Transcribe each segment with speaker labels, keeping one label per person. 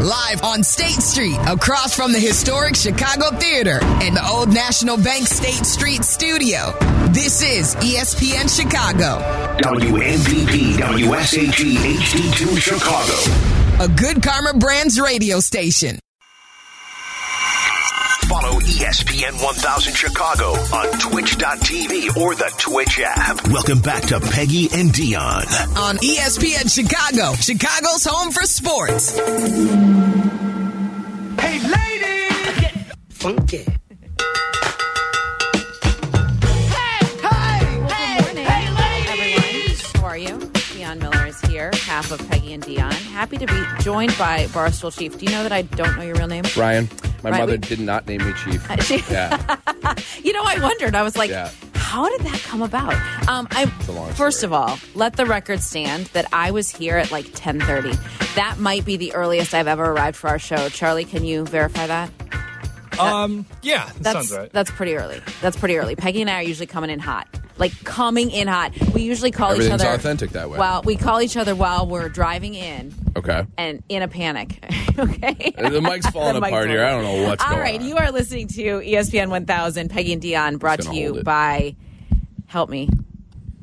Speaker 1: live on State Street, across from the historic Chicago Theater and the Old National Bank State Street Studio. This is E ESPN Chicago,
Speaker 2: WNPP WSHE HD2 Chicago.
Speaker 1: a Good Karma Brands radio station.
Speaker 2: Follow E ESPN 1000 Chicago on twitch.tv or the Twitch app. Welcome back to Peggy and Dion.
Speaker 1: On E ESPN Chicago, Chicago's home for sports.
Speaker 3: Hey, ladies! Get funky.
Speaker 4: Good morning, everyone. How are you? Dion Miller is here, half of Peggy and Dion. Happy to be joined by Barstool Chief. Do you know that I don't know your real name?
Speaker 5: Ryan. My
Speaker 4: Right,
Speaker 5: mother
Speaker 4: we-
Speaker 5: did not name me chief.
Speaker 4: Uh, she-
Speaker 5: yeah,
Speaker 4: You know, I wondered. I was like,
Speaker 5: Yeah.
Speaker 4: how did that come about? Um, I
Speaker 5: a long
Speaker 4: first
Speaker 5: story.
Speaker 4: of all, let the record stand that I was here at like ten thirty. That might be the earliest I've ever arrived for our show. Charlie, can you verify that?
Speaker 6: Um, yeah, that
Speaker 4: That's
Speaker 6: sounds right.
Speaker 4: that's pretty early. That's pretty early. Peggy and I are usually coming in hot. Like coming in hot. We usually call each
Speaker 5: Everything's
Speaker 4: other
Speaker 5: authentic that way.
Speaker 4: Well, we call each other while we're driving in
Speaker 5: okay.
Speaker 4: and in a panic. okay.
Speaker 5: The mic's falling
Speaker 4: The mic's
Speaker 5: apart here. I don't know what's
Speaker 4: All
Speaker 5: going
Speaker 4: right,
Speaker 5: on.
Speaker 4: you are listening to E ESPN 1000, Peggy and Dion, brought
Speaker 5: Just
Speaker 4: to
Speaker 5: gonna
Speaker 4: you
Speaker 5: hold it.
Speaker 4: by Help Me.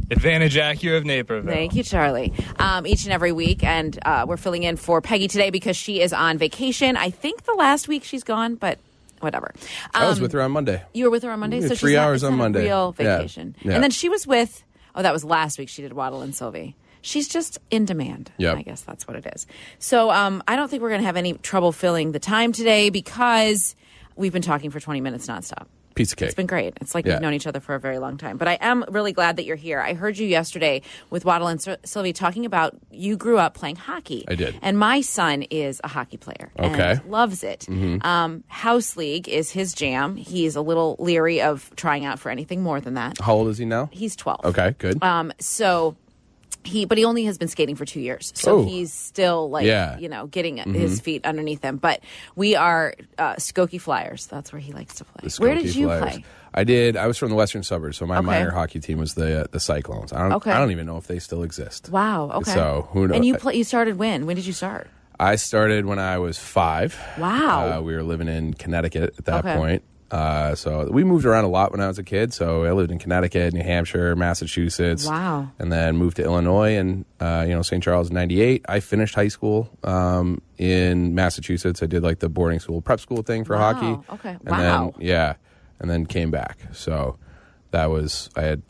Speaker 6: Advantage Acura of Naperville.
Speaker 4: Thank you, Charlie. Um, each and every week, and uh, we're filling in for Peggy today because she is on vacation. I think the last week she's gone, but whatever. Um,
Speaker 5: I was with her on Monday.
Speaker 4: You were with her on Monday,
Speaker 5: Yeah,
Speaker 4: so she's
Speaker 5: three
Speaker 4: not-
Speaker 5: hours
Speaker 4: it's
Speaker 5: on
Speaker 4: not a
Speaker 5: Monday.
Speaker 4: real
Speaker 5: Yeah,
Speaker 4: vacation,
Speaker 5: yeah.
Speaker 4: and then she was with. Oh, that was last week. She did Waddle and Sylvie. She's just in demand.
Speaker 5: Yep.
Speaker 4: I guess that's what it is. So um, I don't think we're going to have any trouble filling the time today because we've been talking for 20 minutes nonstop.
Speaker 5: Piece of cake.
Speaker 4: It's been great. It's like
Speaker 5: Yeah.
Speaker 4: we've known each other for a very long time. But I am really glad that you're here. I heard you yesterday with Waddle and Syl- Sylvie talking about you grew up playing hockey.
Speaker 5: I did.
Speaker 4: And my son is a hockey player.
Speaker 5: Okay. Mm-hmm.
Speaker 4: And loves it. Um, House League is his jam. He's a little leery of trying out for anything more than that.
Speaker 5: How old is he now?
Speaker 4: He's 12.
Speaker 5: okay, good.
Speaker 4: Um, so he, but he only has been skating for two years, so
Speaker 5: Oh.
Speaker 4: he's still like,
Speaker 5: Yeah. Mm-hmm.
Speaker 4: you know, getting his feet underneath him. But we are uh, Skokie Flyers. That's where he likes to play.
Speaker 5: The
Speaker 4: Where
Speaker 5: Skokie
Speaker 4: did you
Speaker 5: Flyers.
Speaker 4: play?
Speaker 5: I did. I was from the Western suburbs, so my
Speaker 4: Okay.
Speaker 5: minor hockey team was the uh, the Cyclones. I don't.
Speaker 4: Okay.
Speaker 5: I don't even know if they still exist.
Speaker 4: Wow. Okay.
Speaker 5: So who knows?
Speaker 4: And you play? You started when? When did you start?
Speaker 5: I started when I was five.
Speaker 4: Wow.
Speaker 5: Uh, we were living in Connecticut at that
Speaker 4: Okay.
Speaker 5: point. Uh, so we moved around a lot when I was a kid. So I lived in Connecticut, New Hampshire, Massachusetts.
Speaker 4: Wow.
Speaker 5: And then moved to Illinois and, uh, you know, St. Charles in 98. I finished high school um, in Massachusetts. I did like the boarding school, prep school thing for
Speaker 4: Wow.
Speaker 5: hockey.
Speaker 4: Okay.
Speaker 5: And
Speaker 4: Wow.
Speaker 5: Then, yeah. And then came back. So that was, I had.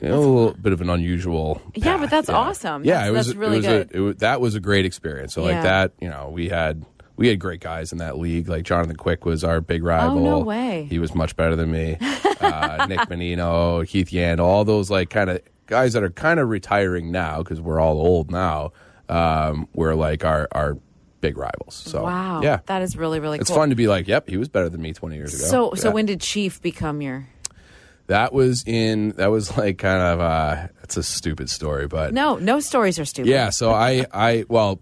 Speaker 5: you know, a little bit of an unusual.
Speaker 4: Yeah, but
Speaker 5: path,
Speaker 4: that's awesome.
Speaker 5: Yeah,
Speaker 4: That's-
Speaker 5: it was
Speaker 4: that's
Speaker 5: it
Speaker 4: really
Speaker 5: was a-
Speaker 4: good.
Speaker 5: it wa- that was a great experience. So
Speaker 4: Yeah.
Speaker 5: like that, you know, we had we had great guys in that league. Like Jonathan Quick was our big rival.
Speaker 4: Oh, no way.
Speaker 5: He was much better than me. uh, Nick Menino, Keith Yand, all those like kind of guys that are kind of retiring now because we're all old now. Um, were like our our big rivals. So
Speaker 4: wow.
Speaker 5: Oh, yeah,
Speaker 4: That is really really
Speaker 5: it's
Speaker 4: cool.
Speaker 5: fun to be like, yep, he was better than me twenty years ago.
Speaker 4: so so
Speaker 5: Yeah.
Speaker 4: when did Chief become your?
Speaker 5: that was in that was like kind of uh, it's a stupid story, but
Speaker 4: No, no stories are stupid.
Speaker 5: Yeah, so I, I, well,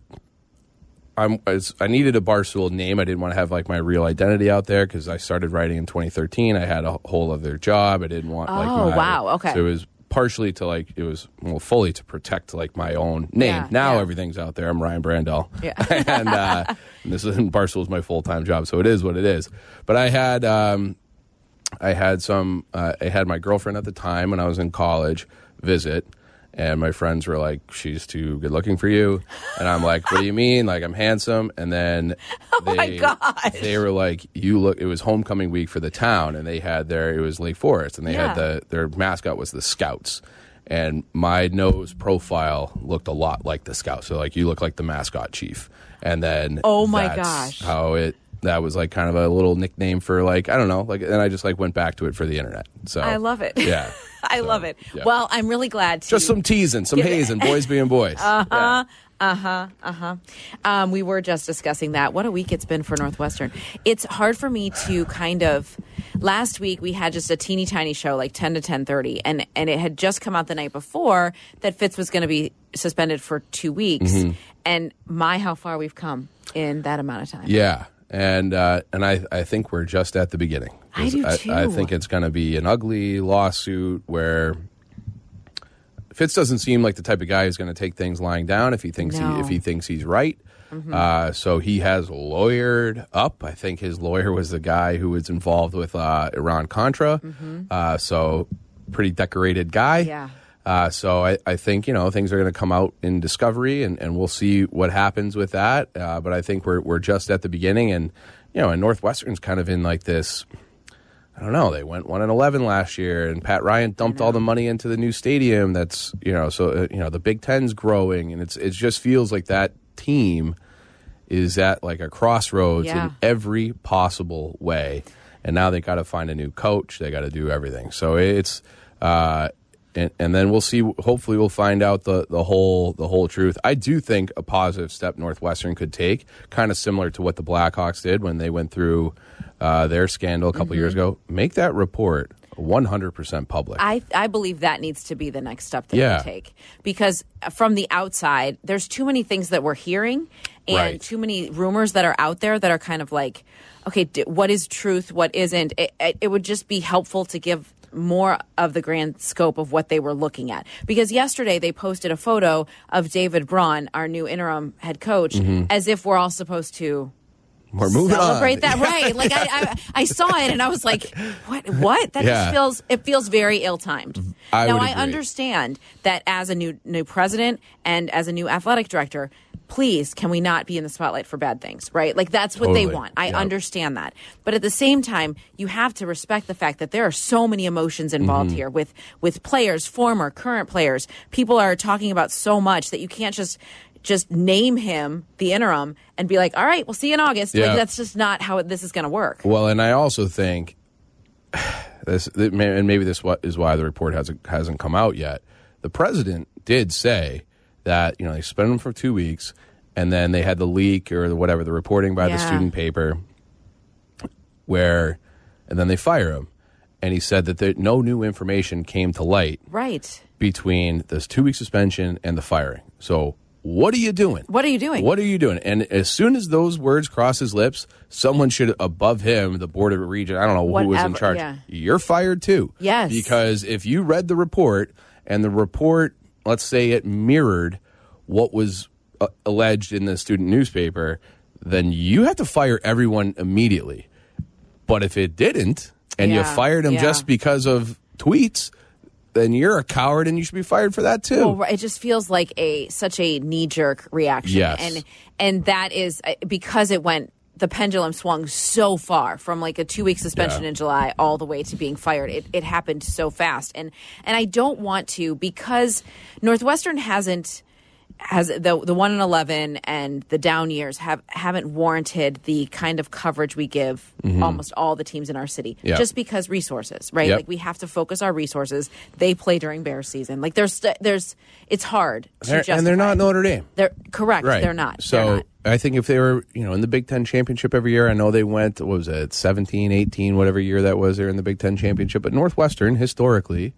Speaker 5: I'm, I was- I needed a barstool name. I didn't want to have like my real identity out there because I started writing in 2013. I had a whole other job. I didn't want. like,
Speaker 4: Oh,
Speaker 5: my-
Speaker 4: wow, okay.
Speaker 5: So it was partially to like it was well fully to protect like my own name.
Speaker 4: Yeah,
Speaker 5: now
Speaker 4: yeah.
Speaker 5: everything's out there. I'm Ryan Brandell.
Speaker 4: Yeah.
Speaker 5: and, uh, and this is barstool is my full time job, so it is what it is. But I had. Um, I had some. Uh, I had my girlfriend at the time when I was in college visit, and my friends were like, "She's too good looking for you," and I'm like, "What do you mean? Like I'm handsome?" And then they,
Speaker 4: Oh my gosh.
Speaker 5: they were like, "You look." It was homecoming week for the town, and they had their. It was Lake Forest, and they
Speaker 4: Yeah.
Speaker 5: had the their mascot was the Scouts. And my nose profile looked a lot like the Scouts. So like, you look like the mascot chief. And then
Speaker 4: Oh my
Speaker 5: that's
Speaker 4: gosh.
Speaker 5: how it that was like kind of a little nickname for like I don't know like and I just like went back to it for the internet. So
Speaker 4: I love it.
Speaker 5: Yeah,
Speaker 4: I love it.
Speaker 5: yeah.
Speaker 4: Well, I'm really glad to
Speaker 5: just some teasing, some hazing, boys being boys. Uh
Speaker 4: Uh-huh.
Speaker 5: huh.
Speaker 4: Um, we were just discussing that. What a week it's been for Northwestern. It's hard for me to kind of. Last week we had just a teeny tiny show, like ten to ten thirty, and and it had just come out the night before that Fitz was going to be suspended for two weeks, and my how far we've come in that amount of time.
Speaker 5: Yeah, and uh, and I I think we're just at the beginning.
Speaker 4: I do,
Speaker 5: I,
Speaker 4: too.
Speaker 5: think it's going to be an ugly lawsuit where. Fitz doesn't seem like the type of guy who's going to take things lying down if he thinks
Speaker 4: No.
Speaker 5: he if he thinks he's right. Uh, so he has lawyered up. I think his lawyer was the guy who was involved with uh, Iran Contra. Uh, so pretty decorated guy.
Speaker 4: Yeah.
Speaker 5: Uh, so I, I think you know things are going to come out in discovery, and, and we'll see what happens with that. Uh, but I think we're we're just at the beginning, and you know, and Northwestern's kind of in like this. I don't know. They went one and eleven last year, and Pat Ryan dumped all the money into the new stadium. That's you know, so uh, you know the Big Ten's growing, and it's it just feels like that team is at like a crossroads
Speaker 4: Yeah.
Speaker 5: in every possible way. And now they got to find a new coach. They got to do everything. So it's uh, and, and then we'll see. Hopefully, we'll find out the the whole the whole truth. I do think a positive step Northwestern could take, kind of similar to what the Blackhawks did when they went through uh, their scandal a
Speaker 4: Mm-hmm.
Speaker 5: couple years ago. Make that report one hundred percent public.
Speaker 4: I, I believe that needs to be the next step that
Speaker 5: Yeah.
Speaker 4: we take because uh, from the outside, there's too many things that we're hearing and
Speaker 5: Right.
Speaker 4: too many rumors that are out there that are kind of like, okay, d- what is truth, what isn't? It, it, it would just be helpful to give more of the grand scope of what they were looking at because yesterday they posted a photo of David Braun, our new interim head coach,
Speaker 5: Mm-hmm.
Speaker 4: as if we're all supposed to
Speaker 5: We're moving
Speaker 4: celebrate
Speaker 5: on.
Speaker 4: that right like I, I i saw it and i was like what what that
Speaker 5: Yeah. Mm-hmm.
Speaker 4: just feels it feels very ill-timed
Speaker 5: I
Speaker 4: now
Speaker 5: would
Speaker 4: i
Speaker 5: agree.
Speaker 4: understand that as a new new president and as a new athletic director please can we not be in the spotlight for bad things right like that's what they
Speaker 5: Totally.
Speaker 4: want i
Speaker 5: Yep.
Speaker 4: understand that but at the same time you have to respect the fact that there are so many emotions
Speaker 5: Mm-hmm.
Speaker 4: involved here with with players former current players people are talking about so much that you can't just just name him the interim and be like all right we'll see you in august
Speaker 5: Yeah.
Speaker 4: like that's just not how this is going to work.
Speaker 5: Well, and I also think this, that may- and maybe this wa- is why the report hasn't hasn't come out yet. The president did say that you know they suspended him for two weeks, and then they had the leak or the, whatever the reporting by the
Speaker 4: Yeah.
Speaker 5: student paper, where, and then they fire him, and he said that there, no new information came to light
Speaker 4: Right.
Speaker 5: between this two week suspension and the firing. So what are you doing?
Speaker 4: What are you doing?
Speaker 5: What are you doing? And as soon as those words cross his lips, someone should above him, the board of region, I don't know who was in
Speaker 4: Whatever,
Speaker 5: charge.
Speaker 4: yeah.
Speaker 5: You're fired too.
Speaker 4: Yes.
Speaker 5: Because if you read the report and the report, let's say it mirrored what was uh, alleged in the student newspaper, then you have to fire everyone immediately. But if it didn't, and you
Speaker 4: Yeah,
Speaker 5: fired him
Speaker 4: yeah.
Speaker 5: just because of tweets, then you're a coward and you should be fired for that too.
Speaker 4: Well, Oh, right, it just feels like a such a knee jerk reaction.
Speaker 5: Yes.
Speaker 4: And and that is uh, because it went the pendulum swung so far from like a two week suspension
Speaker 5: Yeah.
Speaker 4: in July all the way to being fired. It it happened so fast. And and I don't want to because Northwestern hasn't has the the one and eleven and the down years have haven't warranted the kind of coverage we give almost all the teams in our city
Speaker 5: Mm-hmm. Yeah.
Speaker 4: just because resources right
Speaker 5: Yep.
Speaker 4: like we have to focus our resources they play during bear season like there's there's it's hard to
Speaker 5: They're-
Speaker 4: justify.
Speaker 5: and they're not Notre Dame.
Speaker 4: they're correct
Speaker 5: Right.
Speaker 4: they're not
Speaker 5: So
Speaker 4: they're not.
Speaker 5: I think if they were, you know, in the Big Ten championship every year, I know they went, what was it, 17, 18, whatever year that was, they were in the Big Ten championship. But Northwestern, historically,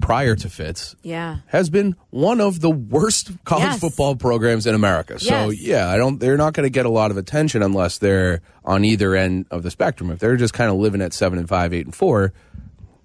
Speaker 5: prior to Fitz,
Speaker 4: Yeah.
Speaker 5: has been one of the worst college
Speaker 4: Yes.
Speaker 5: football programs in America. So
Speaker 4: Yes.
Speaker 5: yeah, I don't. They're not going to get a lot of attention unless they're on either end of the spectrum. If they're just kind of living at seven and five, eight and four.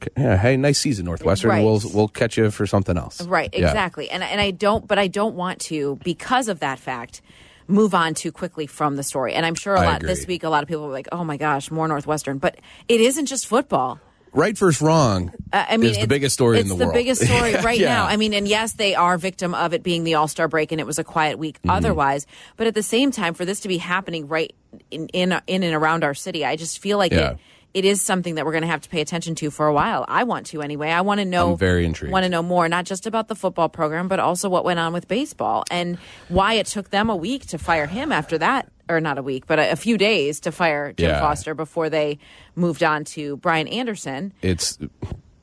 Speaker 5: c- Yeah, hey, nice season, Northwestern.
Speaker 4: Right.
Speaker 5: We'll we'll catch you for something else.
Speaker 4: Right,
Speaker 5: Yeah.
Speaker 4: exactly. And and I don't but I don't want to because of that fact move on too quickly from the story. And I'm sure a
Speaker 5: I
Speaker 4: lot
Speaker 5: agree.
Speaker 4: this week a lot of people were like, "Oh my gosh, more Northwestern." But it isn't just football.
Speaker 5: Right versus wrong.
Speaker 4: I- I mean,
Speaker 5: is the
Speaker 4: it's-
Speaker 5: biggest story in
Speaker 4: it's
Speaker 5: the, world.
Speaker 4: biggest story right
Speaker 5: Yeah.
Speaker 4: now. I mean, and yes, they are victim of it being the All Star break, and it was a quiet week
Speaker 5: Mm-hmm.
Speaker 4: otherwise. But at the same time, for this to be happening right in in, in and around our city, I just feel like
Speaker 5: Yeah.
Speaker 4: it. It is something that we're going to have to pay attention to for a while. I want to anyway. I want to know.
Speaker 5: I'm very intrigued.
Speaker 4: Want to know more, not just about the football program, but also what went on with baseball and why it took them a week to fire him after that, or not a week, but a, a few days to fire Jim
Speaker 5: Yeah.
Speaker 4: Foster before they moved on to Brian Anderson
Speaker 5: It's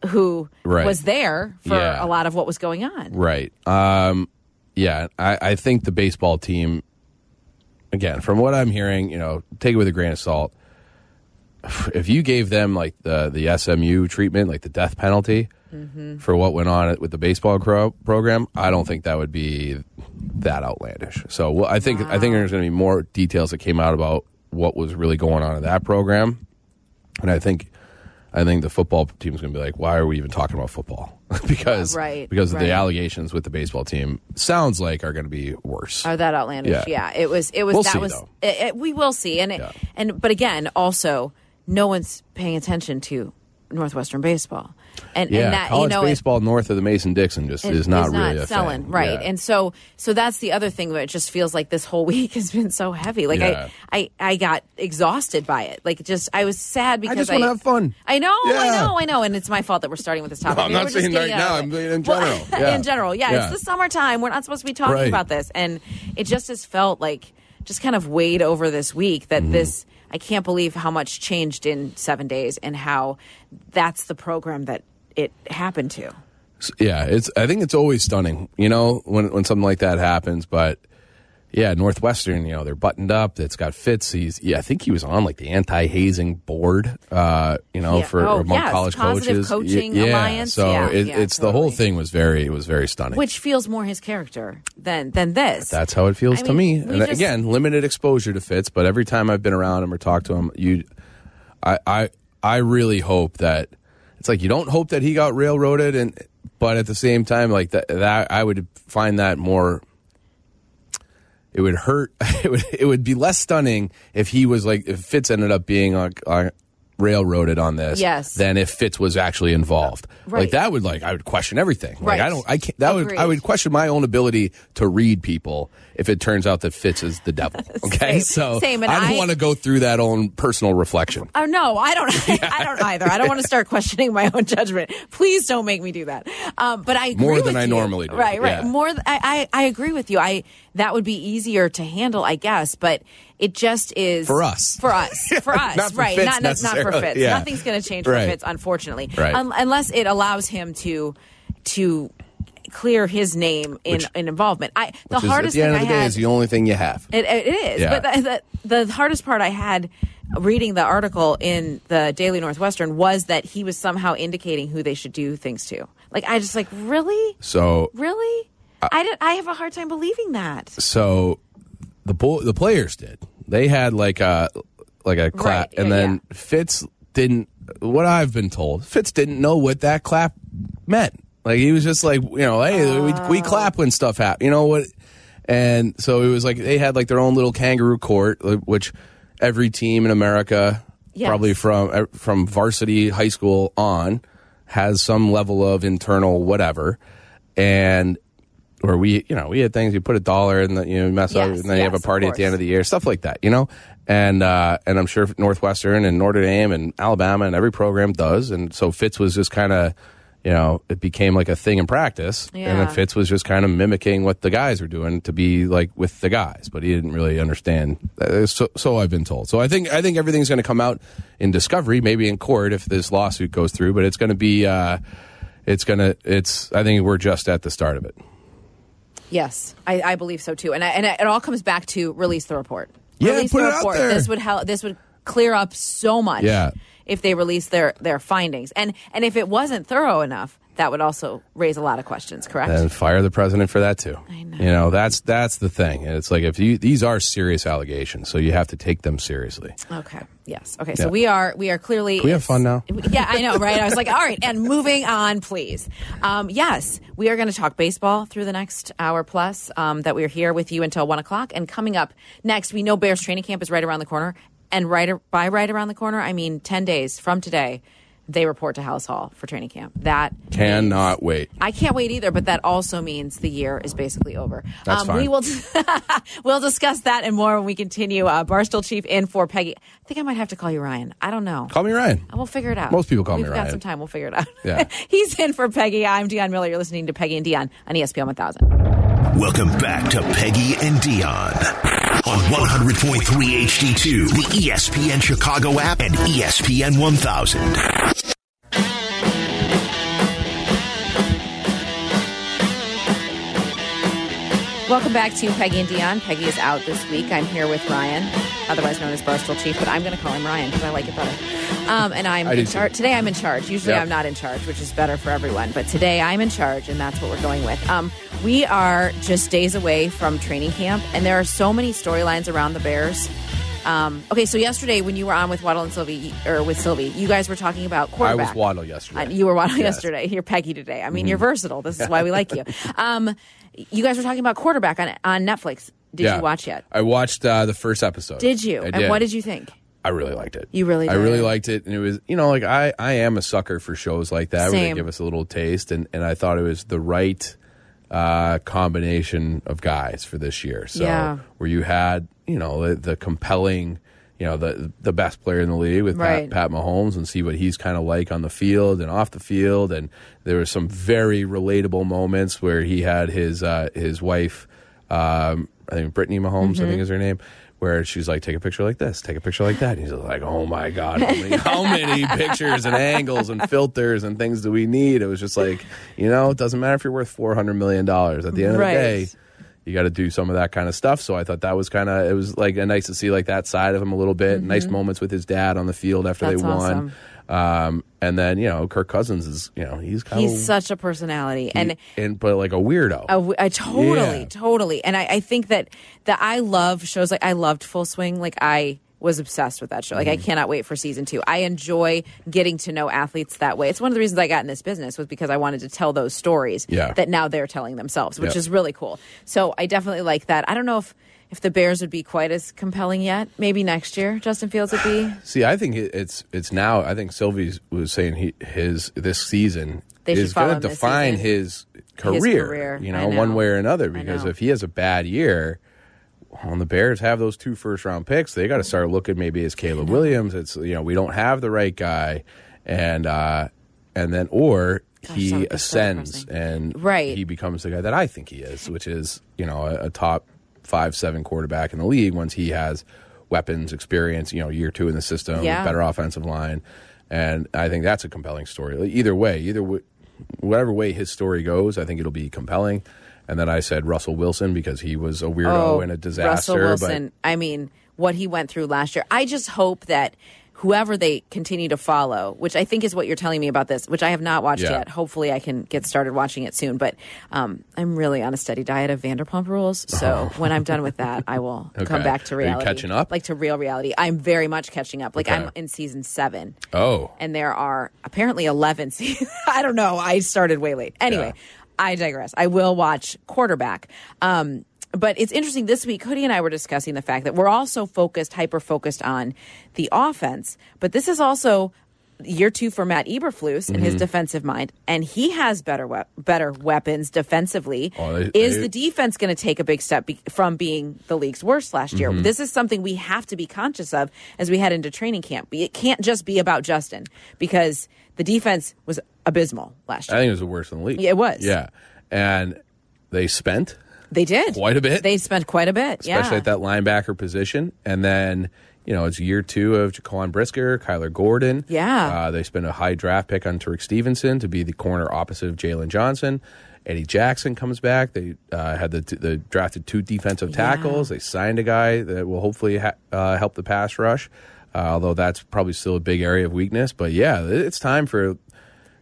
Speaker 4: who
Speaker 5: Right.
Speaker 4: was there for
Speaker 5: Yeah.
Speaker 4: a lot of what was going on.
Speaker 5: right. Um, yeah, I, I think the baseball team, again, from what I'm hearing, you know, take it with a grain of salt. If you gave them like the the SMU treatment, like the death penalty
Speaker 4: Mm-hmm.
Speaker 5: for what went on with the baseball cro- program, I don't think that would be that outlandish. So well, I think I think there's going to be more details that came out about what was really going on in that program, and I think I think the football team's going to be like, why are we even talking about football? because
Speaker 4: Right,
Speaker 5: because of
Speaker 4: right.
Speaker 5: the allegations with the baseball team sounds like are going to be worse.
Speaker 4: Are that outlandish? Yeah.
Speaker 5: Yeah.
Speaker 4: it was. It was.
Speaker 5: We'll
Speaker 4: that
Speaker 5: see,
Speaker 4: was.
Speaker 5: though.
Speaker 4: It, it- we will see, and it,
Speaker 5: Yeah.
Speaker 4: and but again, also, no one's paying attention to Northwestern baseball, and
Speaker 5: yeah,
Speaker 4: and that
Speaker 5: college
Speaker 4: you know it-
Speaker 5: baseball north of the Mason Dixon just
Speaker 4: it
Speaker 5: is not really a
Speaker 4: selling
Speaker 5: thing.
Speaker 4: right,
Speaker 5: Yeah.
Speaker 4: and so so that's the other thing where it just feels like this whole week has been so heavy. Like
Speaker 5: Yeah.
Speaker 4: I I I got exhausted by it. Like just I was sad because
Speaker 5: just wanna have fun.
Speaker 4: I know, I
Speaker 5: Yeah.
Speaker 4: know, I know, and it's my fault that we're starting with this topic.
Speaker 5: No, I'm
Speaker 4: We
Speaker 5: not
Speaker 4: were just
Speaker 5: saying
Speaker 4: getting
Speaker 5: right
Speaker 4: out of it.
Speaker 5: now. I'm saying in
Speaker 4: Well,
Speaker 5: general. Yeah.
Speaker 4: in general, yeah,
Speaker 5: Yeah.
Speaker 4: it's the summertime. We're not supposed to be talking
Speaker 5: Right.
Speaker 4: about this, and it just has felt like just kind of weighed over this week that
Speaker 5: Mm-hmm.
Speaker 4: this. I can't believe how much changed in seven days, and how that's the program that it happened to.
Speaker 5: yeah, it's. I think it's always stunning, you know, when when something like that happens. But yeah, Northwestern, you know, they're buttoned up. It's got Fitz. He's yeah, I think he was on like the anti hazing board, uh, you know,
Speaker 4: Yeah.
Speaker 5: for
Speaker 4: Oh,
Speaker 5: among
Speaker 4: yes,
Speaker 5: college
Speaker 4: Positive
Speaker 5: coaches.
Speaker 4: Coaching
Speaker 5: yeah,
Speaker 4: Alliance.
Speaker 5: So
Speaker 4: Yeah,
Speaker 5: it,
Speaker 4: yeah,
Speaker 5: it's the whole
Speaker 4: totally.
Speaker 5: thing was very it was very stunning.
Speaker 4: which feels more his character than than this.
Speaker 5: That's how it feels
Speaker 4: I
Speaker 5: to
Speaker 4: mean,
Speaker 5: me.
Speaker 4: we
Speaker 5: And
Speaker 4: just-
Speaker 5: again, limited exposure to Fitz, but every time I've been around him or talked to him, you, I, I, I really hope that it's like you don't hope that he got railroaded, and but at the same time, like that, that I would find that more. It would hurt. It would. It would be less stunning if he was like if Fitz ended up being like. uh, railroaded on this
Speaker 4: Yes.
Speaker 5: than if Fitz was actually involved.
Speaker 4: Right.
Speaker 5: Like that would like I would question everything.
Speaker 4: Right.
Speaker 5: Like I don't I can't that would I
Speaker 4: Agreed.
Speaker 5: would question my own ability to read people if it turns out that Fitz is the devil.
Speaker 4: Same.
Speaker 5: Okay, so
Speaker 4: Same, and
Speaker 5: I
Speaker 4: I-
Speaker 5: don't want to go through that own personal reflection.
Speaker 4: Oh no, I don't. I don't either. I don't want to start questioning my own judgment. Please don't make me do that. Um, but I agree
Speaker 5: More than
Speaker 4: with
Speaker 5: I
Speaker 4: you.
Speaker 5: normally do,
Speaker 4: Right, right.
Speaker 5: yeah.
Speaker 4: More. Th- I, I I agree with you. I that would be easier to handle, I guess. But it just is
Speaker 5: For us.
Speaker 4: For us. For us.
Speaker 5: Not for
Speaker 4: right.
Speaker 5: Fitz
Speaker 4: not, not not for
Speaker 5: necessarily,
Speaker 4: Fitz.
Speaker 5: yeah.
Speaker 4: Nothing's going to change for
Speaker 5: Right.
Speaker 4: Fitz, unfortunately,
Speaker 5: Right.
Speaker 4: Un- unless it allows him to to clear his name in,
Speaker 5: Which-
Speaker 4: in involvement. I the
Speaker 5: Which is,
Speaker 4: hardest
Speaker 5: at the end of
Speaker 4: thing
Speaker 5: the
Speaker 4: I
Speaker 5: day
Speaker 4: had
Speaker 5: is the only thing you have.
Speaker 4: It, it is.
Speaker 5: Yeah.
Speaker 4: But the, the, the hardest part I had reading the article in the Daily Northwestern was that he was somehow indicating who they should do things to. Like I just like really,
Speaker 5: so
Speaker 4: really.
Speaker 5: Uh,
Speaker 4: I did, I have a hard time believing that.
Speaker 5: so the bo- the players did. They had like a like a clap,
Speaker 4: Right,
Speaker 5: and
Speaker 4: yeah,
Speaker 5: then Fitz didn't. What I've been told, Fitz didn't know what that clap meant. Like he was just like, you know, hey, we,
Speaker 4: Oh.
Speaker 5: we clap when stuff happens. You know what? And so it was like they had like their own little kangaroo court, like, which every team in America,
Speaker 4: Yes.
Speaker 5: probably from uh, from varsity high school on, has some level of internal whatever, and where we, you know, we had things. You put a dollar and the, you know, mess up,
Speaker 4: Yes,
Speaker 5: and then you have
Speaker 4: yes,
Speaker 5: a party
Speaker 4: of
Speaker 5: at the
Speaker 4: course.
Speaker 5: end of the year, stuff like that, you know. And uh, and I'm sure Northwestern and Notre Dame and Alabama and every program does. And so Fitz was just kind of, you know, it became like a thing in practice. And
Speaker 4: Yeah.
Speaker 5: then Fitz was just kind of mimicking what the guys were doing to be like with the guys, but he didn't really understand. Uh, So, so I've been told. So I think I think everything's going to come out in discovery, maybe in court if this lawsuit goes through. But it's going to be. Uh, it's gonna. It's. I think we're just at the start of it.
Speaker 4: Yes, I, I believe so too. And I, and I, it all comes back to release the report.
Speaker 5: Yeah,
Speaker 4: release
Speaker 5: put
Speaker 4: the
Speaker 5: it out
Speaker 4: report.
Speaker 5: there.
Speaker 4: This would help. This would clear up so much.
Speaker 5: Yeah.
Speaker 4: If they release their their findings, and and if it wasn't thorough enough, that would also raise a lot of questions. Correct.
Speaker 5: And fire the president for that too.
Speaker 4: I know.
Speaker 5: You know, that's that's the thing. And it's like if you these are serious allegations, so you have to take them seriously.
Speaker 4: Okay. Yes. Okay. So
Speaker 5: Yeah.
Speaker 4: we are we are clearly
Speaker 5: we have fun now?
Speaker 4: Yeah, I know, right? I was like, all right, and moving on, please. Um, yes, we are going to talk baseball through the next hour plus. Um, that we are here with you until one o'clock, and coming up next, we know Bears training camp is right around the corner, and right ar- by right around the corner, I mean ten days from today, they report to House Hall for training camp. That
Speaker 5: Cannot wait.
Speaker 4: I can't wait either, but that also means the year is basically over. Um,
Speaker 5: That's
Speaker 4: We
Speaker 5: fine.
Speaker 4: will we'll discuss that and more when we continue. Uh, Barstool Chief in for Peggy. I think I might have to call you Ryan. I don't know.
Speaker 5: Call me Ryan.
Speaker 4: We'll figure it out.
Speaker 5: Most people call me
Speaker 4: We've got
Speaker 5: Ryan.
Speaker 4: some time. We'll figure it out.
Speaker 5: Yeah.
Speaker 4: He's in for Peggy. I'm Dion Miller. You're listening to Peggy and Dion on E ESPN 1000.
Speaker 2: Welcome back to Peggy and Dion on 100.3 HD2, the E ESPN Chicago app and E ESPN 1000.
Speaker 4: Welcome back to Peggy and Dion. Peggy is out this week. I'm here with Ryan, otherwise known as Barstool Chief, but I'm going to call him Ryan because I like it better. Um, and I'm
Speaker 5: I do
Speaker 4: in
Speaker 5: too.
Speaker 4: charge. Today I'm in charge. Usually
Speaker 5: Yeah.
Speaker 4: I'm not in charge, which is better for everyone. But today I'm in charge, and that's what we're going with. Um, we are just days away from training camp, and there are so many storylines around the Bears Um, okay, so yesterday when you were on with Waddle and Sylvie, or with Sylvie, you guys were talking about
Speaker 5: I
Speaker 4: quarterback.
Speaker 5: was Waddle yesterday.
Speaker 4: Uh, you were Waddle
Speaker 5: Yes. Mm-hmm.
Speaker 4: yesterday. You're Peggy today. I mean, you're versatile. This is why we like you. Um, you guys were talking about quarterback on on Netflix. Did
Speaker 5: Yeah.
Speaker 4: you watch yet?
Speaker 5: I watched uh, the first episode.
Speaker 4: Did you?
Speaker 5: I
Speaker 4: and what did you think?
Speaker 5: I really liked it.
Speaker 4: You really
Speaker 5: I
Speaker 4: did.
Speaker 5: really liked it, and it was you know like I I am a sucker for shows like that where they
Speaker 4: Same.
Speaker 5: give us a little taste, and and I thought it was the right uh, combination of guys for this year. So
Speaker 4: Yeah.
Speaker 5: where you had you know the, the compelling. You know the the best player in the league with
Speaker 4: Right.
Speaker 5: Pat, Pat Mahomes and see what he's kind of like on the field and off the field and there were some very relatable moments where he had his uh, his wife um, I think Brittany Mahomes
Speaker 4: Mm-hmm.
Speaker 5: I think is her name where she's like take a picture like this take a picture like that and he's like oh my god how many, how many pictures and angles and filters and things do we need it was just like you know it doesn't matter if you're worth 400 million dollars at the end
Speaker 4: Right.
Speaker 5: of the day you got to do some of that kind of stuff. So I thought that was kind of it was like a nice to see like that side of him a little bit. Nice moments with his dad on the field after
Speaker 4: Mm-hmm. That's
Speaker 5: they won. Um, and then you know Kirk Cousins is you know he's kind
Speaker 4: He's
Speaker 5: of
Speaker 4: such a personality, and
Speaker 5: and but like a weirdo.
Speaker 4: I w- I totally,
Speaker 5: Yeah.
Speaker 4: totally. And I, I think that that I love shows like I loved Full Swing. Like I was obsessed with that show. Like I
Speaker 5: Mm-hmm.
Speaker 4: cannot wait for season two. I enjoy getting to know athletes that way. It's one of the reasons I got in this business was because I wanted to tell those stories
Speaker 5: Yeah.
Speaker 4: that now they're telling themselves, which
Speaker 5: Yeah.
Speaker 4: is really cool. So I definitely like that. I don't know if if the Bears would be quite as compelling yet. Maybe next year, Justin Fields would be.
Speaker 5: See, I think it, it's it's now. I think Sylvie was saying he his this season
Speaker 4: They should
Speaker 5: is
Speaker 4: follow
Speaker 5: going
Speaker 4: him
Speaker 5: to
Speaker 4: this
Speaker 5: define
Speaker 4: season.
Speaker 5: his career,
Speaker 4: career.
Speaker 5: You
Speaker 4: I
Speaker 5: know, one
Speaker 4: know.
Speaker 5: way or
Speaker 4: I
Speaker 5: another. Because
Speaker 4: know.
Speaker 5: if he has a bad year, when the Bears have those two first round picks, they got to start looking maybe as Caleb Williams. It's you know we don't have the right guy, and uh and then or.
Speaker 4: that
Speaker 5: he
Speaker 4: would be so
Speaker 5: ascends
Speaker 4: depressing.
Speaker 5: and
Speaker 4: Right.
Speaker 5: he becomes the guy that I think he is, which is you know a, a top five seven quarterback in the league once he has weapons experience, you know year two in the system,
Speaker 4: Yeah.
Speaker 5: better offensive line, and I think that's a compelling story. Like, Either way, either w- whatever way his story goes, I think it'll be compelling. And then I said Russell Wilson because he was a weirdo and a disaster.
Speaker 4: Oh, Russell Wilson. I mean, what he went through last year. I just hope that whoever they continue to follow, which I think is what you're telling me about this, which I have not watched
Speaker 5: Yeah.
Speaker 4: yet. Hopefully, I can get started watching it soon. But um, I'm really on a steady diet of Vanderpump Rules, so when I'm done with that, I will come
Speaker 5: Oh. Okay.
Speaker 4: back to
Speaker 5: Are you
Speaker 4: reality.
Speaker 5: catching up?
Speaker 4: like to real reality. I'm very much catching up. Like
Speaker 5: Okay.
Speaker 4: I'm in season seven
Speaker 5: But, oh,
Speaker 4: and there are apparently 11 seasons. I don't know. I started way late. Anyway, I digress. I will watch quarterback. Um, but it's interesting this week, Hoodie and I were discussing the fact that we're also focused, hyper focused on the offense, but this is also year two for Matt Eberflus in
Speaker 5: Mm-hmm.
Speaker 4: his defensive mind, and he has better we- better weapons defensively.
Speaker 5: Oh, they-
Speaker 4: is
Speaker 5: they-
Speaker 4: the defense going to take a big step be- from being the league's worst last year?
Speaker 5: Mm-hmm.
Speaker 4: This is something we have to be conscious of as we head into training camp. Be- It can't just be about Justin because the defense was abysmal last
Speaker 5: I
Speaker 4: year.
Speaker 5: think it was the worst in the league.
Speaker 4: Yeah, it was.
Speaker 5: Yeah, and they spent
Speaker 4: they did
Speaker 5: Uh, quite a bit.
Speaker 4: They spent quite a bit,
Speaker 5: especially
Speaker 4: yeah.
Speaker 5: at that linebacker position. And then, you know, it's year two of Jaquan Brisker, Kyler Gordon.
Speaker 4: Yeah.
Speaker 5: Uh, they spent a high draft pick on Tariq Stevenson to be the corner opposite of Jalen Johnson. Eddie Jackson comes back. They uh, had the, the drafted two defensive tackles. They signed a guy that will hopefully ha- uh, help the pass rush, uh, although that's probably still a big area of weakness. But yeah, it's time for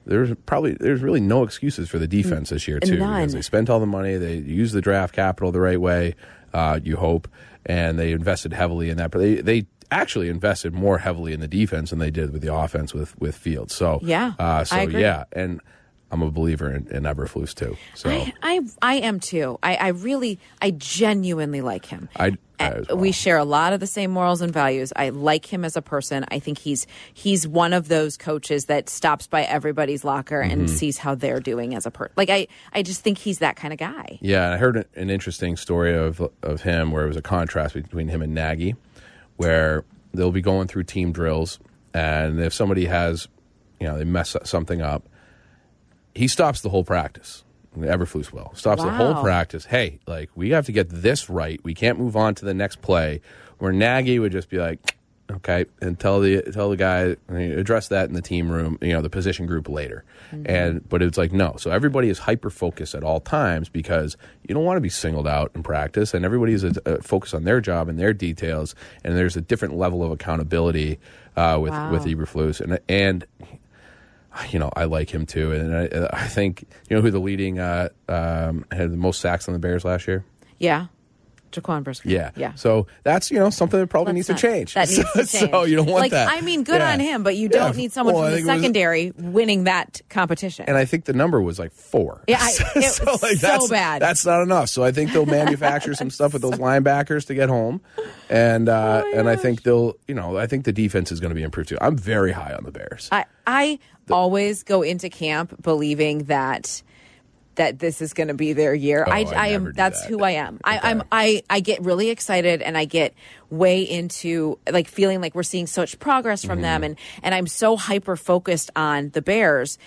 Speaker 5: there's probably there's really no excuses for the defense this year too
Speaker 4: Mm. None.
Speaker 5: because they spent all the money they used the draft capital the right way uh, you hope and they invested heavily in that but they they actually invested more heavily in the defense than they did with the offense with with Fields so
Speaker 4: Yeah, I
Speaker 5: uh, so
Speaker 4: agree.
Speaker 5: yeah and I'm a believer in, in Eberflus too so
Speaker 4: I, I I am too. I, I really I genuinely like him.
Speaker 5: I- I
Speaker 4: Uh,
Speaker 5: as well.
Speaker 4: we share a lot of the same morals and values. I like him as a person. I think he's he's one of those coaches that stops by everybody's locker
Speaker 5: Mm-hmm.
Speaker 4: and sees how they're doing as a person. Like I I just think he's that kind of guy.
Speaker 5: Yeah, and I heard an interesting story of of him where it was a contrast between him and Nagy, where they'll be going through team drills, and if somebody has, you know, they mess something up, he stops the whole practice. Everflus will stops the
Speaker 4: Wow.
Speaker 5: whole practice. Hey, like we have to get this right. We can't move on to the next play. Where Nagy would just be like, okay, and tell the tell the guy I mean, address that in the team room, you know, the position group later.
Speaker 4: Mm-hmm.
Speaker 5: And but it's like no. So everybody is hyper focused at all times because you don't want to be singled out in practice, and everybody's uh, focused on their job and their details. And there's a different level of accountability uh, with
Speaker 4: Wow.
Speaker 5: with Eberflus and and you know, I like him too, and I, I uh, think you know who the leading uh, um, had the most sacks on the Bears last year.
Speaker 4: Yeah. Jaquan Brisker.
Speaker 5: Yeah.
Speaker 4: Yeah.
Speaker 5: So that's, you know, something that probably
Speaker 4: Let's
Speaker 5: needs
Speaker 4: not-
Speaker 5: to change.
Speaker 4: That needs to
Speaker 5: So-
Speaker 4: change.
Speaker 5: So you don't want
Speaker 4: like,
Speaker 5: that.
Speaker 4: I mean, good
Speaker 5: Yeah.
Speaker 4: on him, but you
Speaker 5: Yeah.
Speaker 4: don't need someone
Speaker 5: Well,
Speaker 4: from
Speaker 5: I think
Speaker 4: the
Speaker 5: it was-
Speaker 4: secondary winning that competition.
Speaker 5: and I think the number was like four.
Speaker 4: Yeah, I- it was so
Speaker 5: that's,
Speaker 4: bad.
Speaker 5: That's not enough. So I think they'll manufacture some stuff with those linebackers to get home, and uh,
Speaker 4: Oh
Speaker 5: and I think they'll, you know, I think the defense is going to be improved too. I'm very high on the Bears.
Speaker 4: I, I always go into camp believing that that this is going to be their year.
Speaker 5: Oh,
Speaker 4: I,
Speaker 5: I
Speaker 4: I am.
Speaker 5: never do
Speaker 4: that's
Speaker 5: that.
Speaker 4: who I am. I,
Speaker 5: Okay.
Speaker 4: I'm. I I get really excited and I get way into like feeling like we're seeing such progress from them
Speaker 5: Mm-hmm.
Speaker 4: and and I'm so hyper focused on the Bears.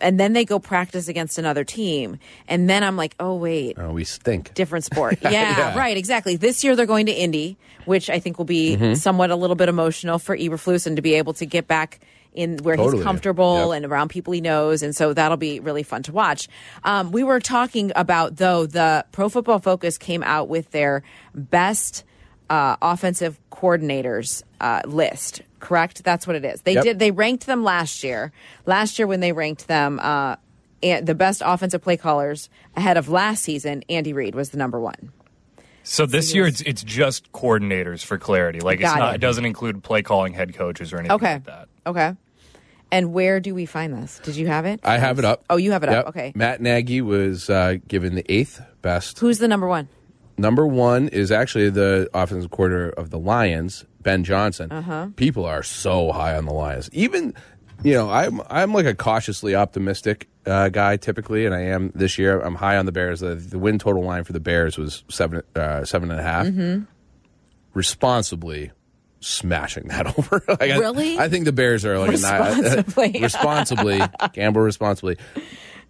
Speaker 4: And then they go practice against another team, and then I'm like, oh wait,
Speaker 5: Oh, we stink.
Speaker 4: different sport. Yeah,
Speaker 5: Yeah.
Speaker 4: right, exactly. This year they're going to Indy, which I think will be
Speaker 5: Mm-hmm.
Speaker 4: somewhat a little bit emotional for Eberflus and to be able to get back in where
Speaker 5: Totally.
Speaker 4: he's comfortable
Speaker 5: Yep.
Speaker 4: and around people he knows, and so that'll be really fun to watch. Um, we were talking about though the Pro Football Focus came out with their best uh, offensive coordinators uh, list. Correct? That's what it is. They
Speaker 5: Yep.
Speaker 4: did. They ranked them last year. Last year when they ranked them. Uh, and the best offensive play callers ahead of last season, Andy Reid was the number one.
Speaker 6: So this year it's it's just coordinators for clarity. Like it's
Speaker 4: Got
Speaker 6: not
Speaker 4: it.
Speaker 6: it doesn't include play calling head coaches or anything like that.
Speaker 4: Okay. And where do we find this? Did you have it?
Speaker 5: I have it up.
Speaker 4: Oh, you have it up.
Speaker 5: Yep.
Speaker 4: Okay.
Speaker 5: Matt Nagy was uh, given the eighth best.
Speaker 4: Who's the number one?
Speaker 5: Number one is actually the offensive coordinator of the Lions, Ben Johnson.
Speaker 4: Uh-huh.
Speaker 5: People are so high on the Lions. Even, you know, I'm I'm like a cautiously optimistic uh, guy typically, and I am this year. I'm high on the Bears. The, the win total line for the Bears was seven uh, seven and a half.
Speaker 4: Mm-hmm.
Speaker 5: Responsibly smashing that over. like I-
Speaker 4: Really?
Speaker 5: I, think the Bears are like A
Speaker 4: Responsibly.
Speaker 5: nine, uh, responsibly gamble responsibly.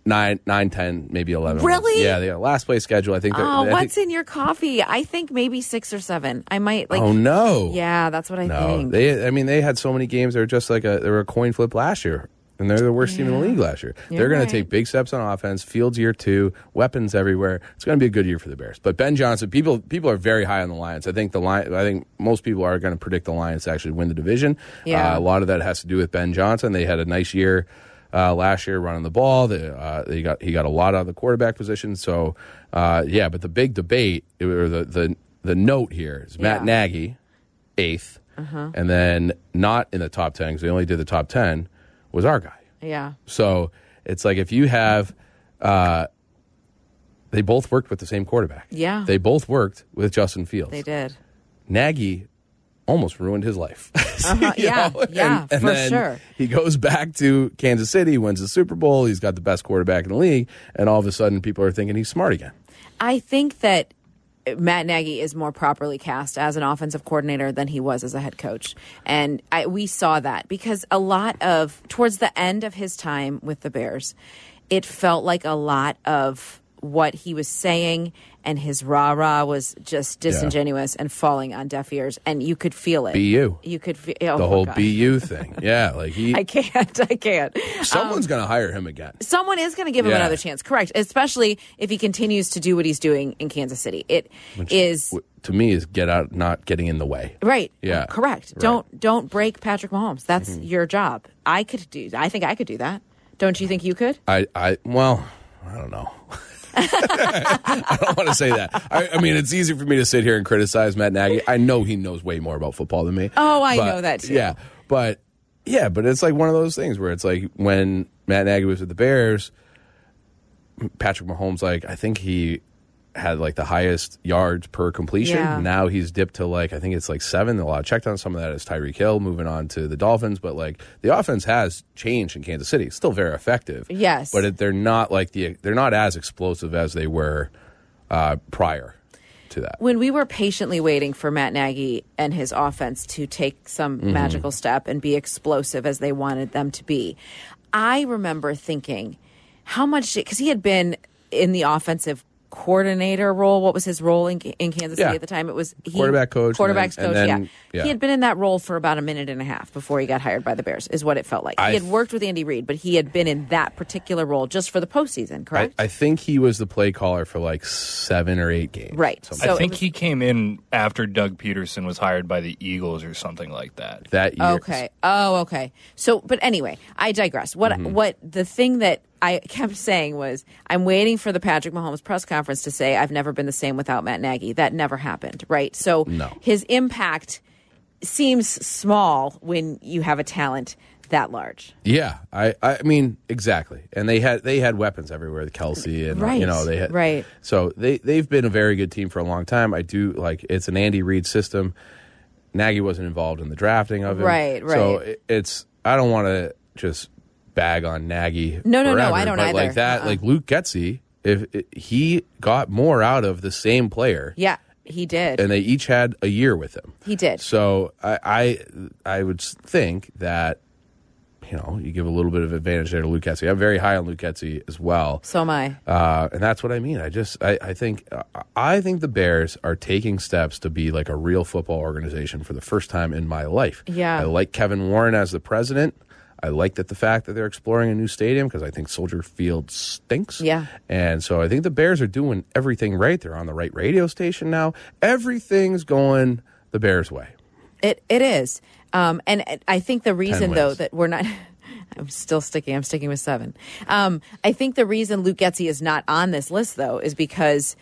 Speaker 5: Nine, nine, ten, maybe eleven.
Speaker 4: Really?
Speaker 5: Yeah, the last place schedule. I think. they're- I
Speaker 4: Oh,
Speaker 5: think-
Speaker 4: what's in your coffee? I think maybe six or seven. I might like.
Speaker 5: oh no!
Speaker 4: Yeah, that's what I
Speaker 5: no.
Speaker 4: think.
Speaker 5: They, I mean, they had so many games. They were just like a, they were a coin flip last year, and they're the worst team in the league last year. they're going
Speaker 4: right.
Speaker 5: to take big steps on offense. Fields year two, weapons everywhere. It's going to be a good year for the Bears. But Ben Johnson, people, people are very high on the Lions. I think the Lions. I think most people are going to predict the Lions to actually win the division.
Speaker 4: Yeah.
Speaker 5: Uh, a lot of that has to do with Ben Johnson. They had a nice year. Uh, last year, running the ball, they, uh, they got he got a lot out of the quarterback position. So, uh, yeah. But the big debate or the the, the note here is Matt
Speaker 4: Yeah. Uh-huh.
Speaker 5: Nagy, 8th and then not in the top 10 because they only did the top 10 was our guy
Speaker 4: yeah.
Speaker 5: so it's like if you have uh, they both worked with the same quarterback
Speaker 4: Yeah.
Speaker 5: they both worked with justin fields
Speaker 4: They did.
Speaker 5: Nagy almost ruined his life. You
Speaker 4: Uh-huh, Yeah, yeah,
Speaker 5: and
Speaker 4: for
Speaker 5: then
Speaker 4: sure.
Speaker 5: He goes back to Kansas City, wins the Super Bowl. He's got the best quarterback in the league, and all of a sudden, people are thinking he's smart again.
Speaker 4: I think that Matt Nagy is more properly cast as an offensive coordinator than he was as a head coach. And I, we saw that because a lot of, towards the end of his time with the Bears, it felt like a lot of what he was saying and his rah rah was just disingenuous and falling on deaf ears. And you could feel it.
Speaker 5: BU.
Speaker 4: You could feel oh
Speaker 5: The
Speaker 4: my
Speaker 5: whole
Speaker 4: God.
Speaker 5: BU thing, yeah. Like he,
Speaker 4: I um, can't. I can't.
Speaker 5: someone's going to hire him again.
Speaker 4: Someone is going to give him
Speaker 5: Yeah.
Speaker 4: another chance, correct? Especially if he continues to do what he's doing in Kansas City. It is.
Speaker 5: w- to me is get out not getting in the way
Speaker 4: Right.
Speaker 5: Yeah.
Speaker 4: Correct.
Speaker 5: Right. Mm-hmm.
Speaker 4: Don't don't break Patrick Mahomes. That's your job. I could do. I think I could do that. Don't you think you could?
Speaker 5: i i well i don't know i don't want to say that I, I mean it's easy for me to sit here and criticize matt nagy i know he knows way more about football than me
Speaker 4: Oh, I
Speaker 5: But-
Speaker 4: know that too.
Speaker 5: yeah but yeah but it's like one of those things where it's like when matt nagy was with the bears patrick mahomes like i think he had like the highest yards per completion.
Speaker 4: Yeah.
Speaker 5: Now he's dipped to like I think it's like seven. A lot checked on some of that is Tyreek Hill moving on to the Dolphins, but like the offense has changed in Kansas City. It's still very effective.
Speaker 4: Yes.
Speaker 5: but it, they're not like the they're not as explosive as they were uh, prior to that.
Speaker 4: When we were patiently waiting for Matt Nagy and his offense to take some
Speaker 5: Mm-hmm.
Speaker 4: magical step and be explosive as they wanted them to be, I remember thinking how much because he had been in the offensive coordinator role. What was his role in, in Kansas
Speaker 5: Yeah.
Speaker 4: City at the time? It was he,
Speaker 5: Quarterback coach and
Speaker 4: quarterbacks
Speaker 5: then- and
Speaker 4: coach.
Speaker 5: then-
Speaker 4: yeah.
Speaker 5: yeah.
Speaker 4: he had been in that role for about a minute and a half before he got hired by the Bears. Is what it felt like.
Speaker 5: I-
Speaker 4: he had worked with Andy Reid, but he had been in that particular role just for the postseason.
Speaker 5: I,
Speaker 4: Correct.
Speaker 5: I think he was the play caller for like seven or eight games.
Speaker 4: right.
Speaker 5: Something.
Speaker 4: So
Speaker 6: I
Speaker 4: it
Speaker 6: think
Speaker 4: was-
Speaker 6: he came in after Doug Peterson was hired by the Eagles or something like that.
Speaker 5: that year. Mm-hmm.
Speaker 4: Okay. Oh, okay. So, but anyway, I digress. What what the thing that I kept saying was, I'm waiting for the Patrick Mahomes press conference to say, I've never been the same without Matt Nagy. That never happened, right? So
Speaker 5: No.
Speaker 4: his impact seems small when you have a talent that large.
Speaker 5: Yeah, I, I mean exactly, and they had they had weapons everywhere, the Kelsey and
Speaker 4: Right,
Speaker 5: you know they had
Speaker 4: right.
Speaker 5: So they they've been a very good team for a long time. I do like it's an Andy Reid system. Nagy wasn't involved in the drafting of it,
Speaker 4: Right,
Speaker 5: So
Speaker 4: right.
Speaker 5: it, it's I don't want to just bag on Nagy.
Speaker 4: No, no, no,
Speaker 5: forever,
Speaker 4: I don't
Speaker 5: but
Speaker 4: either.
Speaker 5: Like that,
Speaker 4: Uh-uh.
Speaker 5: like Luke Getzey, if it, he got more out of the same player,
Speaker 4: Yeah, he did.
Speaker 5: and they each had a year with him.
Speaker 4: He did.
Speaker 5: So I I, I would think that you know you give a little bit of advantage there to Luke Etsy. I'm very high on Luke Etsy as well,
Speaker 4: so am I.
Speaker 5: uh, and that's what I mean. I just I, I think uh, I think the Bears are taking steps to be like a real football organization for the first time in my life.
Speaker 4: Yeah.
Speaker 5: I like Kevin Warren as the president. I like that the fact that they're exploring a new stadium because I think Soldier Field stinks.
Speaker 4: Yeah.
Speaker 5: And so I think the Bears are doing everything right. They're on the right radio station now. Everything's going the Bears' way.
Speaker 4: It it is, um, and it- I think the reason though
Speaker 5: wins.
Speaker 4: that we're not. I'm still sticking. I'm sticking with seven. Um, I think the reason Luke Getzey is not on this list though is because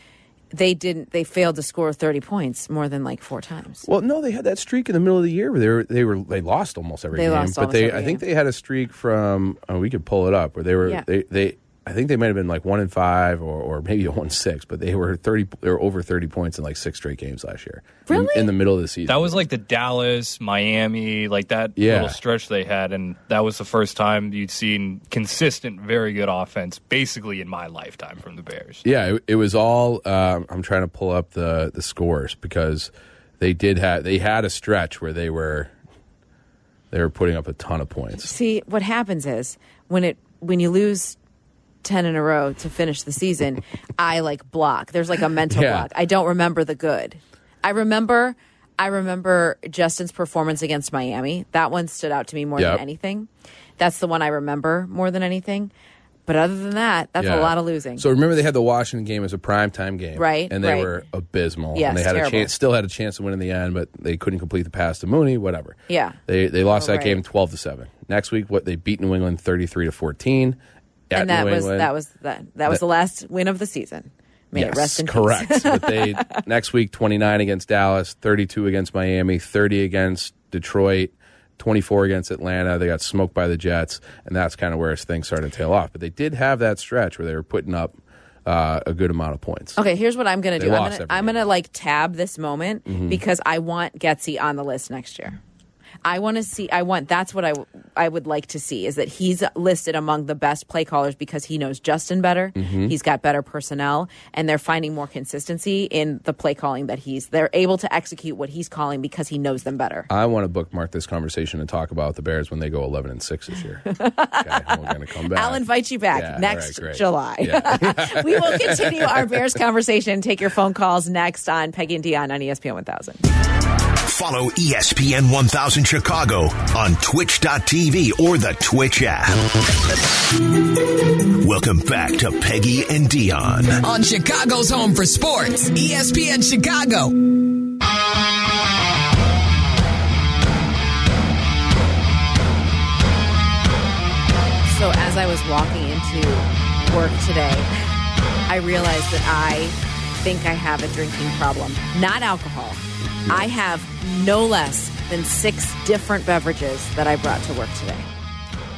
Speaker 4: they didn't. They failed to score 30 points more than like four times.
Speaker 5: Well, no, they had that streak in the middle of the year where they were they were they lost almost every
Speaker 4: They
Speaker 5: game.
Speaker 4: lost
Speaker 5: but
Speaker 4: almost
Speaker 5: they
Speaker 4: every
Speaker 5: I think
Speaker 4: game.
Speaker 5: they had a streak from oh, we could pull it up where they were
Speaker 4: Yeah.
Speaker 5: they, they I think they might have been like one and five or, or maybe a one six, but they were thirty they were over thirty points in like six straight games last year. in-
Speaker 4: Really?
Speaker 5: In, the middle of the season.
Speaker 6: That was like the Dallas, Miami, like that
Speaker 5: Yeah.
Speaker 6: little stretch they had, and that was the first time you'd seen consistent, very good offense, basically in my lifetime from the Bears.
Speaker 5: Yeah, it, it was all. Um, I'm trying to pull up the the scores because they did have they had a stretch where they were they were putting up a ton of points.
Speaker 4: See what happens is when it when you lose. 10 in a row to finish the season, I like block. There's like a mental
Speaker 5: Yeah.
Speaker 4: block. I don't remember the good. I remember I remember Justin's performance against Miami. That one stood out to me more
Speaker 5: Yep.
Speaker 4: than anything. That's the one I remember more than anything. But other than that, that's a
Speaker 5: Yeah.
Speaker 4: lot of losing.
Speaker 5: So remember, they had the Washington game as a primetime game,
Speaker 4: Right,
Speaker 5: And they
Speaker 4: right.
Speaker 5: were abysmal.
Speaker 4: Yes,
Speaker 5: and they had
Speaker 4: terrible.
Speaker 5: a chance, still had a chance to win in the end, but they couldn't complete the pass to Mooney. Whatever.
Speaker 4: Yeah. Oh,
Speaker 5: they they lost that
Speaker 4: right.
Speaker 5: game twelve to seven. Next week, what they beat New England thirty three to fourteen. at
Speaker 4: and that
Speaker 5: New
Speaker 4: was
Speaker 5: England.
Speaker 4: that was that that was the last win of the season. May it rest in peace.
Speaker 5: correct. but they next week twenty nine against Dallas, thirty two against Miami, thirty against Detroit. 24 against Atlanta. They got smoked by the Jets, and that's kind of where things started to tail off. But they did have that stretch where they were putting up uh, a good amount of points.
Speaker 4: Okay, here's what I'm gonna do.
Speaker 5: lost
Speaker 4: I'm gonna
Speaker 5: every
Speaker 4: I'm
Speaker 5: game. Mm-hmm.
Speaker 4: gonna like tab this moment because I want Getzey on the list next year. I want to see. I want. That's what I w- I would like to see is that he's listed among the best play callers because he knows Justin better.
Speaker 5: Mm-hmm.
Speaker 4: He's got better personnel, and they're finding more consistency in the play calling that he's. They're able to execute what he's calling because he knows them better.
Speaker 5: I want to bookmark this conversation and talk about the Bears when they go 11 and 6 this year. okay, and we're going to come back.
Speaker 4: I'll invite you back
Speaker 5: Yeah, all
Speaker 4: next
Speaker 5: right, great.
Speaker 4: July. we will continue our Bears conversation. Take your phone calls next on Peggy and Dion on E ESPN 1000.
Speaker 2: Follow E ESPN 1000 Chicago on twitch.tv or the Twitch app. Welcome back to Peggy and Dion.
Speaker 1: On Chicago's Home for Sports, E ESPN Chicago.
Speaker 4: So as I was walking into work today, I realized that I think I have a drinking problem. Not alcohol. I have no less than six different beverages that I brought to work today.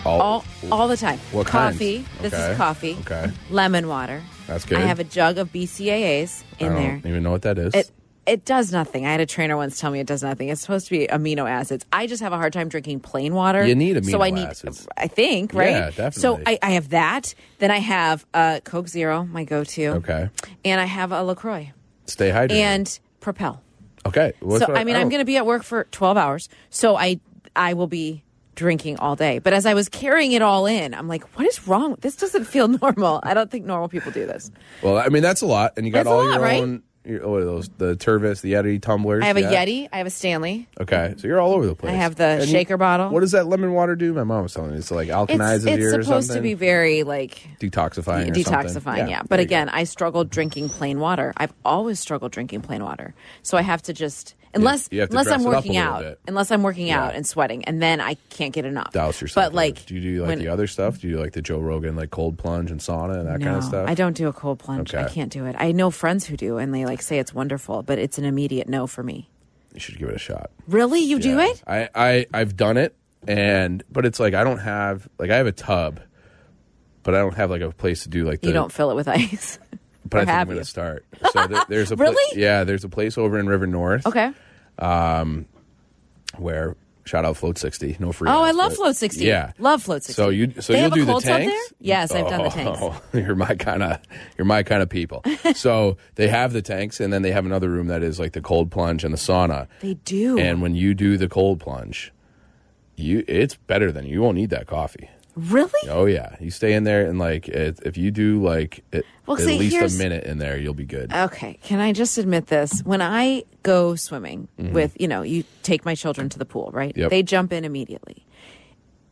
Speaker 5: All-
Speaker 4: All all the time.
Speaker 5: What kinds?
Speaker 4: coffee. This
Speaker 5: Okay.
Speaker 4: is coffee.
Speaker 5: Okay.
Speaker 4: Lemon water.
Speaker 5: That's good. Oh,
Speaker 4: I have a jug of BCAAs
Speaker 5: I
Speaker 4: in
Speaker 5: don't
Speaker 4: there.
Speaker 5: even know what that is.
Speaker 4: It it does nothing. I had a trainer once tell me it does nothing. It's supposed to be amino acids. I just have a hard time drinking plain water.
Speaker 5: You need amino
Speaker 4: so I need,
Speaker 5: acids.
Speaker 4: I think, right?
Speaker 5: Yeah, definitely.
Speaker 4: So I, I have that. Then I have uh, Coke Zero, my go-to.
Speaker 5: okay.
Speaker 4: And I have a Lacroix
Speaker 5: Stay hydrated.
Speaker 4: and Propel.
Speaker 5: okay. what's Oh.
Speaker 4: so
Speaker 5: what-
Speaker 4: I mean, I'm
Speaker 5: don't-
Speaker 4: going to be at work for 12 hours. So I I will be drinking all day. But as I was carrying it all in, I'm like, what is wrong? This doesn't feel normal. I don't think normal people do this.
Speaker 5: Well, I mean, that's a lot. And you got
Speaker 4: That's a
Speaker 5: all
Speaker 4: lot,
Speaker 5: your
Speaker 4: right?
Speaker 5: own. Your, oh, those the Tervis, the Yeti tumblers.
Speaker 4: I have a
Speaker 5: yeah.
Speaker 4: Yeti. I have a Stanley.
Speaker 5: Okay, so you're all over the place.
Speaker 4: I have the
Speaker 5: you-
Speaker 4: shaker bottle.
Speaker 5: What does that lemon water do? My mom was telling me it's like
Speaker 4: It's,
Speaker 5: alkalizes
Speaker 4: it's
Speaker 5: your or
Speaker 4: supposed to
Speaker 5: something.
Speaker 4: be very like
Speaker 5: detoxifying. or something.
Speaker 4: detoxifying yeah, but
Speaker 5: there you go.
Speaker 4: again i struggled drinking plain water i've always struggled drinking plain water so i have to just Unless
Speaker 5: you have to
Speaker 4: unless
Speaker 5: dress
Speaker 4: I'm
Speaker 5: it up a
Speaker 4: working
Speaker 5: little
Speaker 4: out,
Speaker 5: bit.
Speaker 4: unless I'm working out and sweating, and then I can't get enough.
Speaker 5: douse yourself.
Speaker 4: But like,
Speaker 5: do you do like
Speaker 4: when-
Speaker 5: the other stuff? Do you do, like the Joe Rogan like cold plunge and sauna and that kind of
Speaker 4: No,
Speaker 5: stuff?
Speaker 4: I don't do a cold plunge. I
Speaker 5: Okay.
Speaker 4: can't do it. I know friends who do, and they like say it's wonderful, but it's an immediate no for me.
Speaker 5: You should give it a shot.
Speaker 4: Really, you do
Speaker 5: Yeah.
Speaker 4: it?
Speaker 5: I, I I've done it, and but it's like I don't have like I have a tub, but I don't have like a place to do like the.
Speaker 4: You don't fill it with ice.
Speaker 5: but I
Speaker 4: or
Speaker 5: think I'm
Speaker 4: have
Speaker 5: going
Speaker 4: you?
Speaker 5: to start. So there, there's a pla-
Speaker 4: Really?
Speaker 5: yeah, there's a place over in River North.
Speaker 4: Okay.
Speaker 5: where shout out Float 60, no free.
Speaker 4: Oh, I
Speaker 5: ads,
Speaker 4: love
Speaker 5: but-
Speaker 4: Float 60.
Speaker 5: Yeah,
Speaker 4: Love Float 60.
Speaker 5: So you so
Speaker 4: They
Speaker 5: you'll
Speaker 4: have a
Speaker 5: do the
Speaker 4: cold tub
Speaker 5: tanks?
Speaker 4: there? Yes, I've done the tanks.
Speaker 5: Oh, you're my kind of you're my kind of people. so they have the tanks, and then they have another room that is like the cold plunge and the sauna.
Speaker 4: They do.
Speaker 5: And when you do the cold plunge, you it's better than you won't need that coffee.
Speaker 4: really?
Speaker 5: Oh yeah, you stay in there and like it, if you do like it,
Speaker 4: Well,
Speaker 5: at
Speaker 4: see,
Speaker 5: least a
Speaker 4: here's-
Speaker 5: minute in there, you'll be good.
Speaker 4: Okay. Can I just admit this? When I go swimming with, you know, you take my children to the pool, right?
Speaker 5: Mm-hmm. Yep.
Speaker 4: They jump in immediately.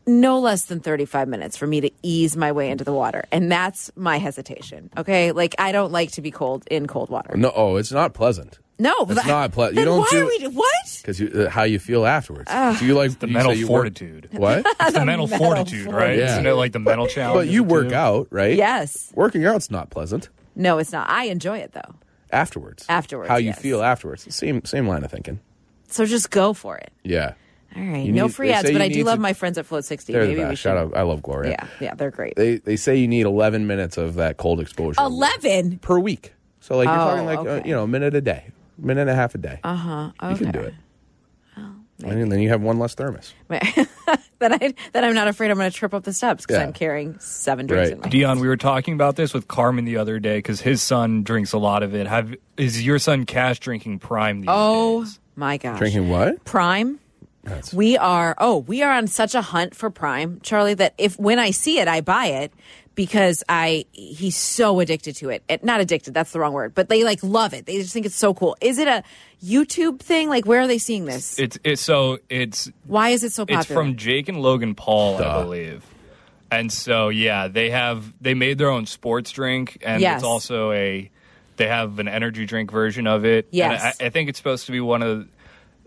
Speaker 4: No less than 35 minutes for me to ease my way into the water. And that's my hesitation. Okay. Like, I don't like to be cold in cold water.
Speaker 5: no, oh, it's not pleasant.
Speaker 4: No,
Speaker 5: It's
Speaker 4: but-
Speaker 5: not ple- you
Speaker 4: then
Speaker 5: don't
Speaker 4: why
Speaker 5: do-
Speaker 4: are we what?
Speaker 5: Because uh, how you feel afterwards.
Speaker 4: Ah.
Speaker 5: do you like
Speaker 6: the
Speaker 5: you
Speaker 6: mental
Speaker 5: say you work-
Speaker 6: fortitude.
Speaker 5: what?
Speaker 6: It's the mental fortitude, right?
Speaker 5: Yeah.
Speaker 6: Isn't it like the mental challenge?
Speaker 5: But you work
Speaker 6: too?
Speaker 5: out, right?
Speaker 4: Yes.
Speaker 5: Working out's not pleasant
Speaker 4: No, it's not. I enjoy it though.
Speaker 5: afterwards.
Speaker 4: Afterwards,
Speaker 5: How you
Speaker 4: yes.
Speaker 5: feel afterwards. Same same line of thinking.
Speaker 4: So just go for it.
Speaker 5: Yeah.
Speaker 4: All right.
Speaker 5: You
Speaker 4: no
Speaker 5: need-
Speaker 4: free
Speaker 5: they
Speaker 4: ads,
Speaker 5: say
Speaker 4: but
Speaker 5: you
Speaker 4: I do
Speaker 5: need
Speaker 4: love
Speaker 5: to-
Speaker 4: my friends at Float 60.
Speaker 5: They're
Speaker 4: Maybe
Speaker 5: the
Speaker 4: we
Speaker 5: best.
Speaker 4: should.
Speaker 5: Shout out. I love Gloria.
Speaker 4: Yeah. Yeah. They're great.
Speaker 5: They they say you need 11 minutes of that cold exposure
Speaker 4: 11.
Speaker 5: per week. So like you're
Speaker 4: Oh,
Speaker 5: talking like uh,
Speaker 4: okay. Uh-huh.
Speaker 5: you know a minute a day, minute and a half a day. Uh huh. You
Speaker 4: okay.
Speaker 5: can
Speaker 4: Oh,
Speaker 5: do it. and then you have one less thermos.
Speaker 4: that I that I'm not afraid I'm going to trip up the steps because
Speaker 5: Yeah.
Speaker 4: I'm carrying seven drinks
Speaker 5: Right.
Speaker 4: in my.
Speaker 6: Dion, we were talking about this with Carmen the other day because his son drinks a lot of it. Have is your son Cash drinking Prime these
Speaker 4: oh
Speaker 6: days?
Speaker 4: my gosh!
Speaker 5: Drinking what?
Speaker 4: Prime. We are oh we are on such a hunt for Prime, Charlie. That if when I see it, I buy it because I he's so addicted to it. it. Not addicted, that's the wrong word, but they like love it. They just think it's so cool. Is it a YouTube thing? Like where are they seeing this?
Speaker 6: It's it's so it's
Speaker 4: Why is it so popular?
Speaker 6: it's from Jake and Logan Paul, I
Speaker 5: Duh.
Speaker 6: believe. And so yeah, they have they made their own sports drink, and
Speaker 4: Yes.
Speaker 6: it's also a they have an energy drink version of it.
Speaker 4: Yes.
Speaker 6: and I, I think it's supposed to be one of.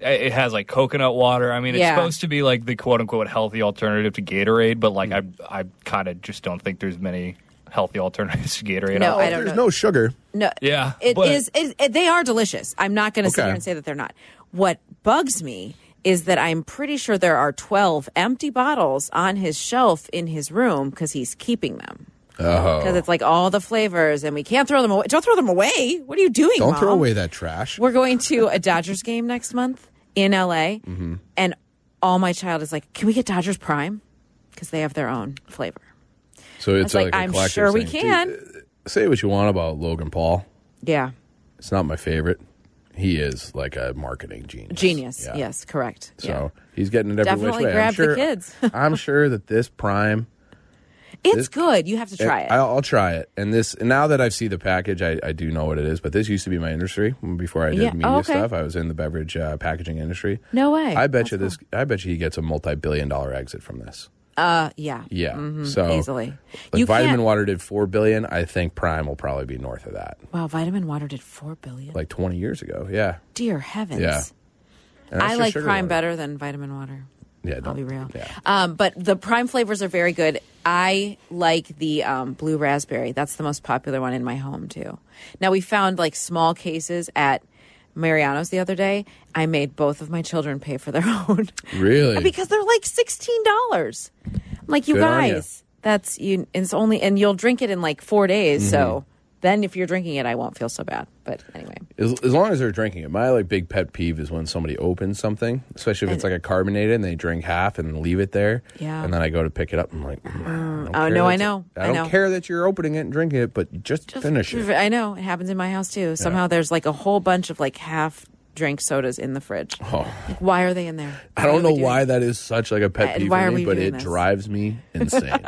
Speaker 6: It has like coconut water. I mean, it's
Speaker 4: Yeah.
Speaker 6: supposed to be like the quote unquote healthy alternative to Gatorade, but like
Speaker 4: Mm.
Speaker 6: I, I kind of just don't think there's many healthy alternatives to Gatorade.
Speaker 4: No,
Speaker 6: out
Speaker 4: I
Speaker 6: there.
Speaker 4: don't
Speaker 5: There's
Speaker 4: know.
Speaker 5: no sugar.
Speaker 4: No,
Speaker 6: Yeah,
Speaker 4: it
Speaker 6: but-
Speaker 4: is. It, it- they are delicious. I'm not going to sit
Speaker 5: Okay.
Speaker 4: here and say that they're not. What bugs me is that I'm pretty sure there are 12 empty bottles on his shelf in his room because he's keeping them.
Speaker 5: Oh.
Speaker 4: Because it's like all the flavors, and we can't throw them away. Don't throw them away. What are you doing?
Speaker 5: Don't throw
Speaker 4: Mom?
Speaker 5: away that trash.
Speaker 4: We're going to a Dodgers game next month in LA,
Speaker 5: Mm-hmm.
Speaker 4: and all my child is like, "Can we get Dodgers Prime? Because they have their own flavor."
Speaker 5: So it's
Speaker 4: It's like,
Speaker 5: a
Speaker 4: I'm
Speaker 5: collective
Speaker 4: sure we
Speaker 5: thing.
Speaker 4: can.
Speaker 5: Dude, say what you want about Logan Paul.
Speaker 4: yeah.
Speaker 5: It's not my favorite. He is like a marketing genius.
Speaker 4: Genius.
Speaker 5: Yeah.
Speaker 4: Yes, correct.
Speaker 5: So
Speaker 4: yeah.
Speaker 5: he's getting it every
Speaker 4: Definitely
Speaker 5: which way.
Speaker 4: grab
Speaker 5: I'm
Speaker 4: the
Speaker 5: sure,
Speaker 4: kids.
Speaker 5: I'm sure that this prime.
Speaker 4: It's good. You have to try it. Uh,
Speaker 5: I'll, I'll try it. And this and now that I've seen the package, I, I do know what it is. But this used to be my industry before I did
Speaker 4: Yeah. Oh,
Speaker 5: media
Speaker 4: okay.
Speaker 5: stuff. I was in the beverage uh, packaging industry.
Speaker 4: No way.
Speaker 5: I bet you this. I bet you he gets a multi-billion-dollar exit from this.
Speaker 4: Uh, yeah.
Speaker 5: Yeah. So
Speaker 4: Easily.
Speaker 5: Like
Speaker 4: you
Speaker 5: vitamin
Speaker 4: can't.
Speaker 5: water did four billion. I think Prime will probably be north of that.
Speaker 4: Wow, vitamin water did four billion.
Speaker 5: Like twenty years ago. Yeah.
Speaker 4: Dear heavens.
Speaker 5: Yeah. And that's
Speaker 4: I
Speaker 5: just
Speaker 4: like
Speaker 5: sugar
Speaker 4: Prime
Speaker 5: water.
Speaker 4: better than vitamin water.
Speaker 5: Yeah.
Speaker 4: I'll
Speaker 5: don't-
Speaker 4: be real.
Speaker 5: Yeah.
Speaker 4: Um, but the Prime flavors are very good. I like the um, blue raspberry. That's the most popular one in my home too. Now we found like small cases at Mariano's the other day. I made both of my children pay for their own.
Speaker 5: Really?
Speaker 4: because they're like sixteen dollars. I'm like, you
Speaker 5: Good on ya.
Speaker 4: guys, that's you. It's only and you'll drink it in like four days.
Speaker 5: Mm-hmm.
Speaker 4: So then, if you're drinking it, I won't feel so bad. But anyway,
Speaker 5: As, as long as they're drinking it, my like big pet peeve is when somebody opens something, especially if it's like a carbonated, and they drink half and leave it there.
Speaker 4: Yeah.
Speaker 5: And then I go to pick it up, and I'm like, mm, I don't
Speaker 4: oh,
Speaker 5: care
Speaker 4: no, I
Speaker 5: that-
Speaker 4: know.
Speaker 5: I
Speaker 4: I
Speaker 5: don't
Speaker 4: know.
Speaker 5: care that you're opening it and drinking it, but just, finish it.
Speaker 4: I know it happens in my house too. Somehow there's like a whole bunch of like half drink sodas in the fridge. Like, why are they in there?
Speaker 5: Oh. I don't
Speaker 4: Why are
Speaker 5: know
Speaker 4: we doing
Speaker 5: why
Speaker 4: it?
Speaker 5: that is such like a
Speaker 4: Uh,
Speaker 5: pet peeve
Speaker 4: why are
Speaker 5: for
Speaker 4: we
Speaker 5: me, but
Speaker 4: doing
Speaker 5: it
Speaker 4: this?
Speaker 5: drives me insane.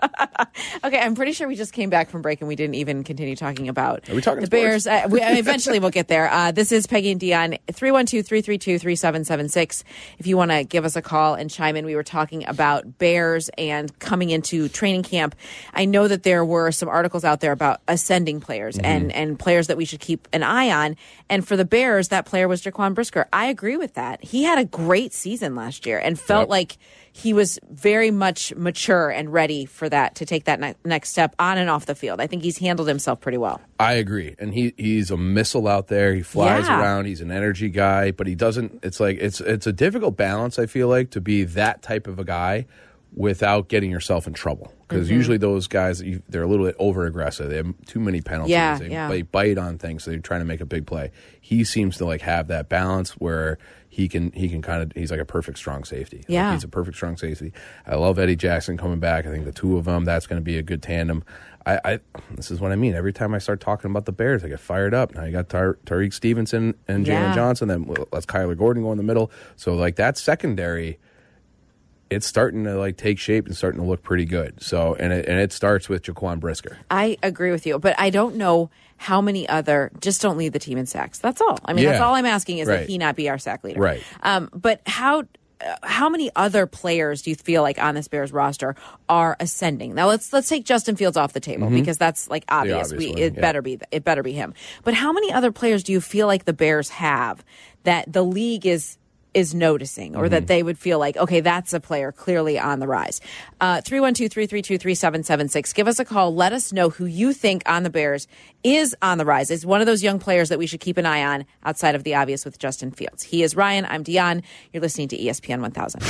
Speaker 4: Okay, I'm pretty sure we just came back from break and we didn't even continue talking about
Speaker 5: Are we talking
Speaker 4: the
Speaker 5: sports?
Speaker 4: Bears. Uh, we, eventually, we'll get there. Uh, this is Peggy and Dion, 312 332 3776. If you want to give us a call and chime in, we were talking about Bears and coming into training camp. I know that there were some articles out there about ascending players and, and players that we should keep an eye on. And for the Bears, that player was Jaquan Brisker, I agree with that. He had a great season last year and felt
Speaker 5: Yep.
Speaker 4: like he was very much mature and ready for that to take that ne- next step on and off the field. I think he's handled himself pretty well.
Speaker 5: I agree. And he he's a missile out there. He flies
Speaker 4: Yeah.
Speaker 5: around. He's an energy guy, but he doesn't it's like it's it's a difficult balance I feel like to be that type of a guy without getting yourself in trouble. Because
Speaker 4: Mm-hmm.
Speaker 5: usually those guys you- they're a little bit over aggressive. They have too many penalties.
Speaker 4: Yeah,
Speaker 5: they,
Speaker 4: yeah.
Speaker 5: they bite on things. So they're trying to make a big play. He seems to like have that balance where he can he can kind of he's like a perfect strong safety. Like,
Speaker 4: Yeah.
Speaker 5: he's a perfect strong safety. I love Eddie Jackson coming back. I think the two of them that's going to be a good tandem. I, I this is what I mean. Every time I start talking about the Bears, I get fired up. Now you got Tar- Tariq Stevenson and Jalen
Speaker 4: Yeah.
Speaker 5: Johnson. Then well, let's Kyler Gordon go in the middle. So like that secondary, it's starting to like take shape and starting to look pretty good. So and it, and it starts with Jaquan Brisker.
Speaker 4: I agree with you, but I don't know how many other just don't lead the team in sacks. That's all. I mean, that's
Speaker 5: Yeah.
Speaker 4: all I'm asking is that
Speaker 5: Right.
Speaker 4: he not be our sack leader.
Speaker 5: Right.
Speaker 4: Um, but how uh, how many other players do you feel like on this Bears roster are ascending? Now let's let's take Justin Fields off the table
Speaker 5: Mm-hmm.
Speaker 4: because that's like obvious.
Speaker 5: obvious
Speaker 4: We,
Speaker 5: one,
Speaker 4: it
Speaker 5: yeah.
Speaker 4: better be th- it better be him. But how many other players do you feel like the Bears have that the league is is noticing or that they would feel like okay that's a player clearly on the rise uh 312-332-3776 give us a call let us know who you think on the bears is on the rise is one of those young players that we should keep an eye on outside of the obvious with justin fields he is ryan i'm dion you're listening to E espn 1000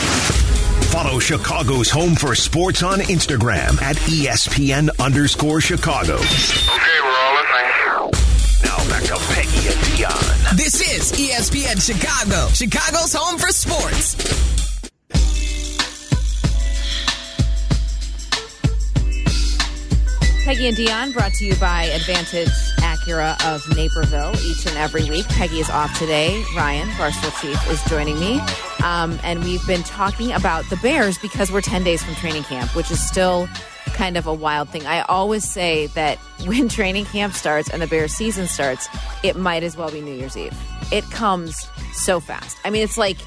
Speaker 2: Follow Chicago's Home for Sports on Instagram at E ESPN underscore Chicago.
Speaker 7: Okay, we're all listening.
Speaker 2: Now back to Peggy and Dion.
Speaker 1: This is E ESPN Chicago, Chicago's home for sports.
Speaker 4: Peggy and Dion brought to you by Advantage Acura of Naperville each and every week. Peggy is off today. Ryan, Barstool Chief, is joining me. Um, and we've been talking about the Bears because we're 10 days from training camp, which is still kind of a wild thing. I always say that when training camp starts and the Bears season starts, it might as well be New Year's Eve. It comes so fast. I mean, it's like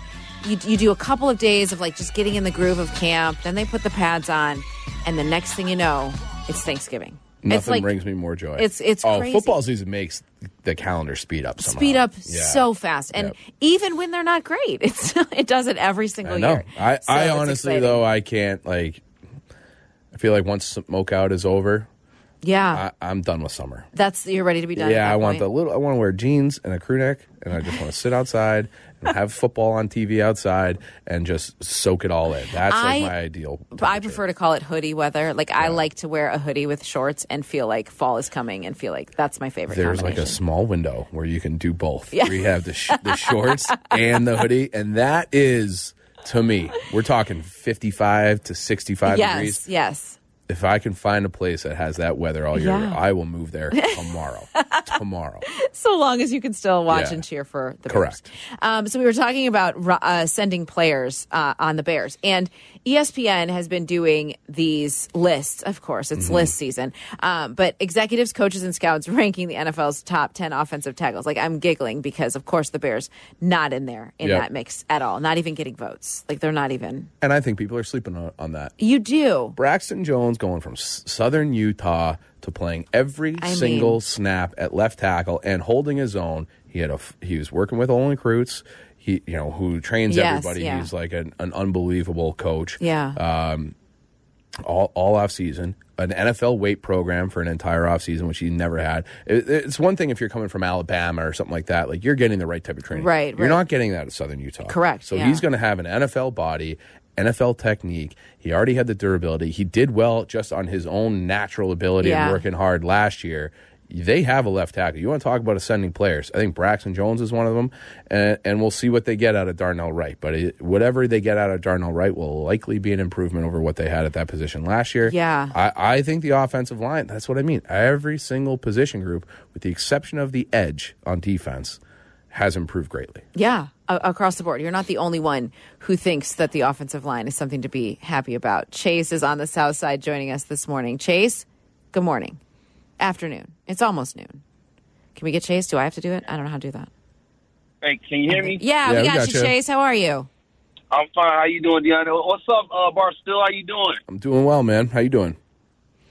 Speaker 4: you, you do a couple of days of like just getting in the groove of camp, then they put the pads on, and the next thing you know, it's Thanksgiving.
Speaker 5: Nothing
Speaker 4: it's like
Speaker 5: brings me more joy.
Speaker 4: it's- it's
Speaker 5: oh
Speaker 4: crazy.
Speaker 5: football season makes the calendar speed up. Somehow.
Speaker 4: speed up
Speaker 5: Yeah.
Speaker 4: so fast, and
Speaker 5: Yep.
Speaker 4: even when they're not great, it's it does it every single
Speaker 5: I know.
Speaker 4: year.
Speaker 5: I,
Speaker 4: So
Speaker 5: I
Speaker 4: it's
Speaker 5: honestly
Speaker 4: exciting.
Speaker 5: though I can't like. I feel like once smokeout is over,
Speaker 4: yeah,
Speaker 5: I, I'm done with summer.
Speaker 4: that's you're ready to be done. at
Speaker 5: yeah,
Speaker 4: that
Speaker 5: I want
Speaker 4: point.
Speaker 5: the little. I want to wear jeans and a crew neck, and I just want to sit outside and have football on TV outside and just soak it all in. That's
Speaker 4: I-
Speaker 5: like my ideal.
Speaker 4: But I prefer to call it hoodie weather. Like I like to wear a hoodie with shorts and feel like fall is coming and feel like that's my favorite.
Speaker 5: There's like a
Speaker 4: combination.
Speaker 5: small window where you can do both. Where you have the, sh- the shorts and the hoodie, and that is to me. We're talking 55 to 65
Speaker 4: yes,
Speaker 5: degrees.
Speaker 4: yes.
Speaker 5: if I can find a place that has that weather all year,
Speaker 4: Yeah.
Speaker 5: I will move there tomorrow. tomorrow.
Speaker 4: so long as you can still watch
Speaker 5: Yeah.
Speaker 4: and cheer for the
Speaker 5: Correct.
Speaker 4: Bears. Um, so we were talking about ru- uh, sending players uh, on the Bears, and E ESPN has been doing these lists. Of course, it's
Speaker 5: Mm-hmm.
Speaker 4: list season, um, but executives, coaches, and scouts ranking the NFL's top ten offensive tackles. Like I'm giggling because, of course, the Bears not in there in
Speaker 5: Yep.
Speaker 4: that mix at all. Not even getting votes. Like they're not even.
Speaker 5: And I think people are sleeping on, on that.
Speaker 4: You do.
Speaker 5: Braxton Jones going from s- southern Utah to playing every
Speaker 4: I
Speaker 5: single
Speaker 4: mean-
Speaker 5: snap at left tackle and holding his own. He had a f- he was working with Olin Kreutz. He you know who trains
Speaker 4: Yes,
Speaker 5: everybody.
Speaker 4: yeah.
Speaker 5: He's like an, an unbelievable coach.
Speaker 4: Yeah.
Speaker 5: all, all off season, an NFL weight program for an entire off season, which he never had. It, it's one thing if you're coming from Alabama or something like that, like you're getting the right type of training.
Speaker 4: Right,
Speaker 5: You're
Speaker 4: right.
Speaker 5: not getting that at Southern Utah.
Speaker 4: Correct,
Speaker 5: So
Speaker 4: yeah.
Speaker 5: he's going to have an NFL body, NFL technique. He already had the durability. He did well just on his own natural ability
Speaker 4: Yeah.
Speaker 5: and working hard last year. They have a left tackle. You want to talk about ascending players? I think Braxton Jones is one of them, and, and we'll see what they get out of Darnell Wright. But it, whatever they get out of Darnell Wright will likely be an improvement over what they had at that position last year.
Speaker 4: Yeah.
Speaker 5: I, I think the offensive line, that's what I mean. Every single position group, with the exception of the edge on defense, has improved greatly.
Speaker 4: Yeah, a- across the board. You're not the only one who thinks that the offensive line is something to be happy about. Chase is on the south side joining us this morning. Chase, good morning. Afternoon. It's almost noon. Can we get Chase? Do I have to do it? I don't know how to do that.
Speaker 8: Hey, can you hear me?
Speaker 4: Yeah,
Speaker 5: Yeah,
Speaker 4: we,
Speaker 5: we
Speaker 4: got,
Speaker 5: got
Speaker 4: you,
Speaker 5: you.
Speaker 4: Chase. How are you?
Speaker 8: I'm fine. How you doing, Deanna? What's up, uh, Barstool? How you doing?
Speaker 5: I'm doing well, man. How you doing?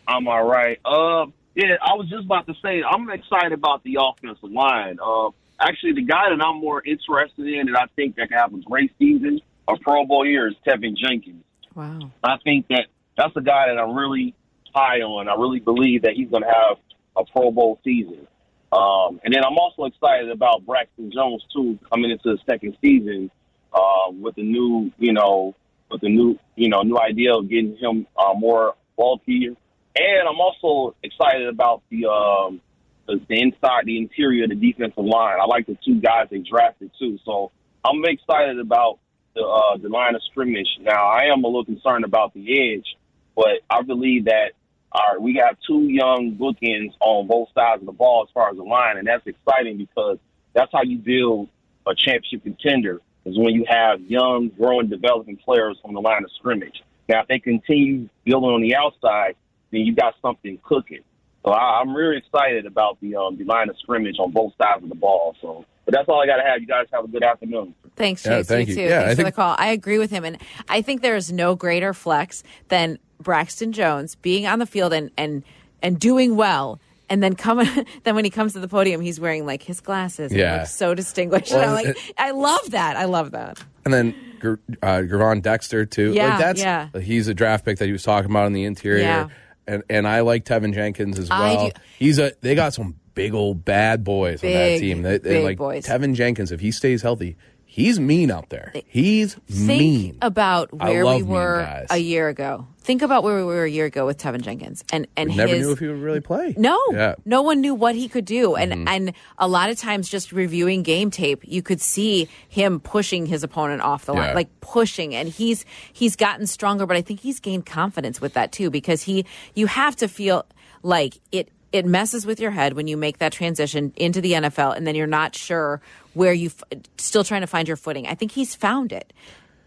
Speaker 8: I'm all right. Uh, yeah, I was just about to say I'm excited about the offensive line. Uh, Actually, the guy that I'm more interested in, and I think that can have a great season, a Pro Bowl year, is Tevin Jenkins.
Speaker 4: Wow.
Speaker 8: I think that that's a guy that I'm really high on. I really believe that he's going to have a Pro Bowl season. Um, and then I'm also excited about Braxton Jones too coming into the second season uh, with the new, you know, with the new, you know, new idea of getting him uh, more bulkier. And I'm also excited about the um, the, the inside, the interior, the defensive line. I like the two guys they drafted too. So I'm excited about the uh, the line of scrimmage. Now I am a little concerned about the edge, but I believe that our, we have two young bookends on both sides of the ball as far as the line, and that's exciting because that's how you build a championship contender is when you have young, growing, developing players on the line of scrimmage. Now if they continue building on the outside, then you got something cooking. So I, I'm really excited about the um, the line of scrimmage on both sides of the ball. So, but that's all I got to have. You guys have a good afternoon.
Speaker 4: Thanks,
Speaker 5: Yeah,
Speaker 4: Chase.
Speaker 5: thank
Speaker 4: you
Speaker 5: you.
Speaker 4: too.
Speaker 5: Yeah,
Speaker 4: Thanks
Speaker 5: I
Speaker 4: for
Speaker 5: think-
Speaker 4: the call. I agree with him, and I think there is no greater flex than Braxton Jones being on the field and and and doing well. And then coming, then when he comes to the podium, he's wearing like his glasses. and
Speaker 5: Yeah.
Speaker 4: looks so distinguished. and I'm
Speaker 5: Well,
Speaker 4: like,
Speaker 5: it-
Speaker 4: I love that. I love that.
Speaker 5: And then Ger- uh, Gervon Dexter too.
Speaker 4: Yeah,
Speaker 5: like that's
Speaker 4: yeah.
Speaker 5: he's a draft pick that he was talking about in the interior.
Speaker 4: Yeah.
Speaker 5: And and I like Tevin Jenkins as
Speaker 4: I
Speaker 5: well.
Speaker 4: do-
Speaker 5: He's a they got some big old bad boys on that
Speaker 4: Big,
Speaker 5: team. They, they
Speaker 4: big
Speaker 5: like
Speaker 4: boys.
Speaker 5: Tevin Jenkins if he stays healthy, he's mean out there. He's
Speaker 4: Think
Speaker 5: mean.
Speaker 4: about
Speaker 5: I
Speaker 4: where
Speaker 5: love
Speaker 4: we
Speaker 5: mean
Speaker 4: were
Speaker 5: guys.
Speaker 4: a year ago. Think about where we were a year ago with Tevin Jenkins, and and
Speaker 5: Never
Speaker 4: his,
Speaker 5: knew if he would really play.
Speaker 4: No,
Speaker 5: Yeah. Mm-hmm.
Speaker 4: no one knew what he could do, and and a lot of times just reviewing game tape, you could see him pushing his opponent off the line,
Speaker 5: Yeah.
Speaker 4: like pushing, and he's he's gotten stronger, but I think he's gained confidence with that too because he you have to feel like it it messes with your head when you make that transition into the NFL, and then you're not sure where you f- still trying to find your footing. I think he's found it.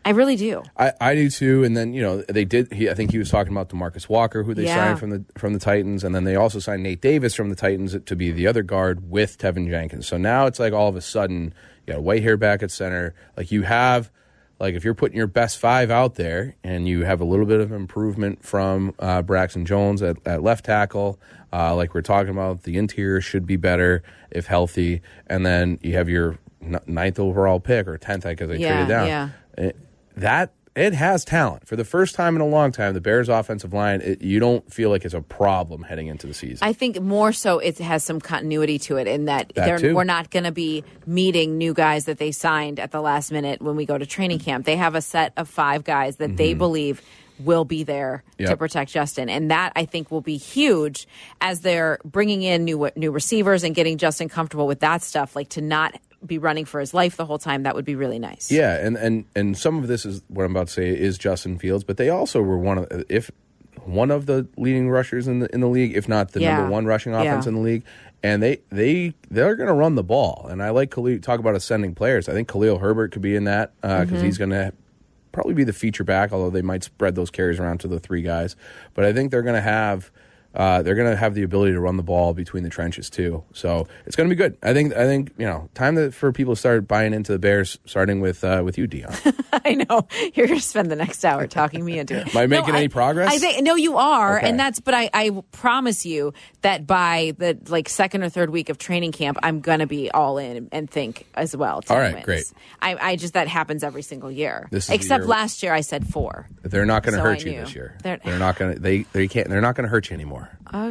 Speaker 4: I really do.
Speaker 5: I, I do too. And then you know they did. He, I think he was talking about Demarcus Walker, who they
Speaker 4: Yeah.
Speaker 5: signed from the from the Titans, and then they also signed Nate Davis from the Titans to be the other guard with Tevin Jenkins. So now it's like all of a sudden you got White hair back at center. Like you have. Like if you're putting your best five out there, and you have a little bit of improvement from uh, Braxton Jones at, at left tackle, uh, like we're talking about, the interior should be better if healthy, and then you have your n- ninth overall pick or tenth, because they
Speaker 4: Yeah,
Speaker 5: traded down
Speaker 4: yeah.
Speaker 5: it, Uh, that it has talent for the first time in a long time. The Bears' offensive line, it, you don't feel like it's a problem heading into the season.
Speaker 4: I think more so it has some continuity to it in that,
Speaker 5: That
Speaker 4: they're,
Speaker 5: too.
Speaker 4: we're not going to be meeting new guys that they signed at the last minute when we go to training camp. They have a set of five guys that they believe will be there to
Speaker 5: Mm-hmm. Yep.
Speaker 4: protect Justin, and that I think will be huge as they're bringing in new new receivers and getting Justin comfortable with that stuff. Like to not be running for his life the whole time, that would be really nice.
Speaker 5: yeah, and, and and some of this is what I'm about to say is Justin Fields, but they also were one of if one of the leading rushers in the in the league, if not the
Speaker 4: Yeah.
Speaker 5: number one rushing offense
Speaker 4: Yeah.
Speaker 5: in the league. And they they they're going to run the ball, and I like Khalil. Talk about ascending players. I think Khalil Herbert could be in that because
Speaker 4: Mm-hmm.
Speaker 5: he's going to probably be the feature back, although they might spread those carries around to the three guys. But I think they're going to have uh, they're going to have the ability to run the ball between the trenches too. So it's going to be good. I think I think you know time that, for people to start buying into the Bears, starting with uh, with you, Dion.
Speaker 4: I know you're going to spend the next hour talking me into it.
Speaker 5: Am I making any progress?
Speaker 4: I think no, you are,
Speaker 5: Okay.
Speaker 4: and that's. But I, I promise you that by the like second or third week of training camp, I'm going to be all in and think as well. 10
Speaker 5: All right,
Speaker 4: wins.
Speaker 5: great.
Speaker 4: I, I just that happens every single year.
Speaker 5: This is the
Speaker 4: Except
Speaker 5: year-
Speaker 4: last year, I said four.
Speaker 5: they're not going to
Speaker 4: So I
Speaker 5: hurt you
Speaker 4: knew.
Speaker 5: this year.
Speaker 4: They're-
Speaker 5: They're, not going to they they can't they're not going to hurt you anymore.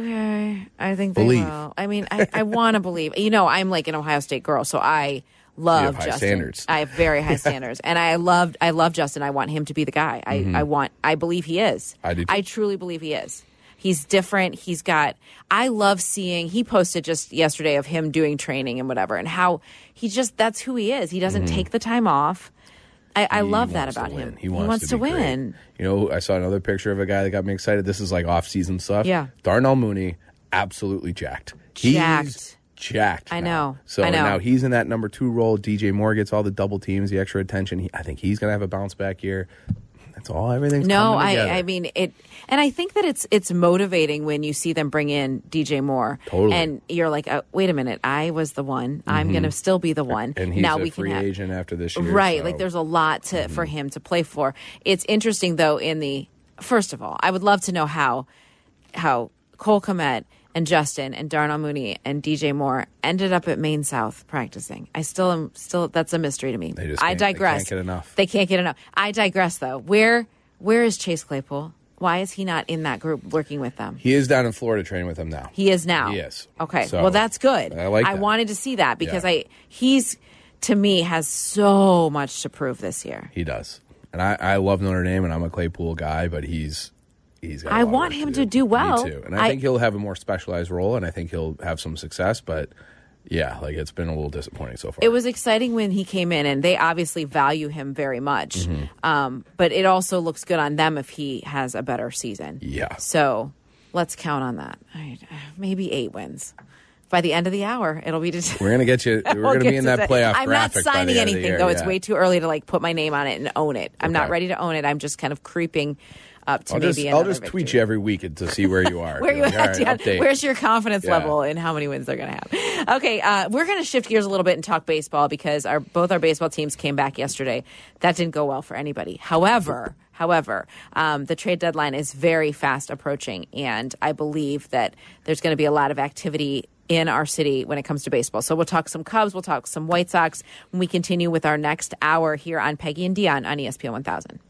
Speaker 4: Okay, I think they
Speaker 5: Believe.
Speaker 4: will. I mean, I, I want to believe. You know, I'm like an Ohio State girl, so I
Speaker 5: You
Speaker 4: love
Speaker 5: have high
Speaker 4: Justin.
Speaker 5: standards.
Speaker 4: I have very high standards, and I loved I love Justin. I want him to be the guy. I, I want. I believe he is.
Speaker 5: Mm-hmm. I do, too.
Speaker 4: I truly believe he is. He's different. He's got. I love seeing. He posted just yesterday of him doing training and whatever, and how he just that's who he is. He doesn't take the time off. I, I
Speaker 5: Mm-hmm. He
Speaker 4: love that
Speaker 5: wants to
Speaker 4: about
Speaker 5: win.
Speaker 4: him.
Speaker 5: He wants, to, be great.
Speaker 4: win.
Speaker 5: You know, I saw another picture of a guy that got me excited. This is like off-season stuff.
Speaker 4: Yeah.
Speaker 5: Darnell Mooney, absolutely jacked.
Speaker 4: Jacked.
Speaker 5: He's jacked.
Speaker 4: I
Speaker 5: now.
Speaker 4: know.
Speaker 5: So
Speaker 4: I know.
Speaker 5: now he's in that number two role. DJ Moore gets all the double teams, the extra attention. He, I think he's going to have a bounce back year. That's all. Everything's
Speaker 4: No,
Speaker 5: coming
Speaker 4: I,
Speaker 5: together.
Speaker 4: I mean it, and I think that it's it's motivating when you see them bring in DJ Moore,
Speaker 5: Totally.
Speaker 4: and you're like, oh, wait a minute, I was the one. I'm going to still be the one.
Speaker 5: and he's
Speaker 4: now
Speaker 5: a
Speaker 4: we
Speaker 5: free
Speaker 4: can have,
Speaker 5: agent after this year.
Speaker 4: right?
Speaker 5: so- Mm-hmm.
Speaker 4: Like there's a lot to for him to play for. It's interesting though. In the first of all, I would love to know how how Cole Komet and Justin and Darnell Mooney and DJ Moore ended up at Maine South practicing. I still am still that's a mystery to me.
Speaker 5: They just
Speaker 4: I
Speaker 5: can't- they can't
Speaker 4: digress.
Speaker 5: get enough.
Speaker 4: They can't get enough. I digress though. Where where is Chase Claypool? Why is he not in that group working with them?
Speaker 5: He is down in Florida training with them now.
Speaker 4: He is now.
Speaker 5: He is.
Speaker 4: Okay.
Speaker 5: So,
Speaker 4: well, that's good.
Speaker 5: I like
Speaker 4: I
Speaker 5: that.
Speaker 4: wanted to see that because
Speaker 5: Yeah.
Speaker 4: I he's to me has so much to prove this year.
Speaker 5: He does. And I, I love Notre Dame, and I'm a Claypool guy, but he's he's. Got a
Speaker 4: I
Speaker 5: lot of
Speaker 4: want
Speaker 5: work
Speaker 4: him
Speaker 5: do.
Speaker 4: to do well.
Speaker 5: Me too. And I,
Speaker 4: I-
Speaker 5: think he'll have a more specialized role, and I think he'll have some success. But yeah, like it's been a little disappointing so far.
Speaker 4: It was exciting when he came in, and they obviously value him very much.
Speaker 5: Mm-hmm.
Speaker 4: Um, but it also looks good on them if he has a better season.
Speaker 5: Yeah.
Speaker 4: So let's count on that. All right, maybe eight wins by the end of the hour. It'll be. Det-
Speaker 5: We're gonna get you. We're
Speaker 4: We'll
Speaker 5: gonna
Speaker 4: get
Speaker 5: be in
Speaker 4: to
Speaker 5: that playoff.
Speaker 4: I'm not
Speaker 5: graphic by
Speaker 4: signing
Speaker 5: the end of the
Speaker 4: anything
Speaker 5: year,
Speaker 4: though. It's
Speaker 5: yeah.
Speaker 4: way too early to like put my name on it and own it. I'm not
Speaker 5: Okay.
Speaker 4: ready to own it. I'm just kind of creeping up to
Speaker 5: I'll
Speaker 4: maybe
Speaker 5: just I'll
Speaker 4: another
Speaker 5: just tweet
Speaker 4: victory.
Speaker 5: you every week to see where you are.
Speaker 4: Where
Speaker 5: Be
Speaker 4: you
Speaker 5: like, "All
Speaker 4: at,
Speaker 5: right,
Speaker 4: Dan?
Speaker 5: update."
Speaker 4: Where's your confidence
Speaker 5: Yeah.
Speaker 4: level and how many wins they're going to have? Okay, uh, we're going to shift gears a little bit and talk baseball because our both our baseball teams came back yesterday. That didn't go well for anybody. However, however, um, the trade deadline is very fast approaching, and I believe that there's going to be a lot of activity. In our city, when it comes to baseball. So, we'll talk some Cubs, we'll talk some White Sox when we continue with our next hour here on E Peggy and Dion on ESPN 1000.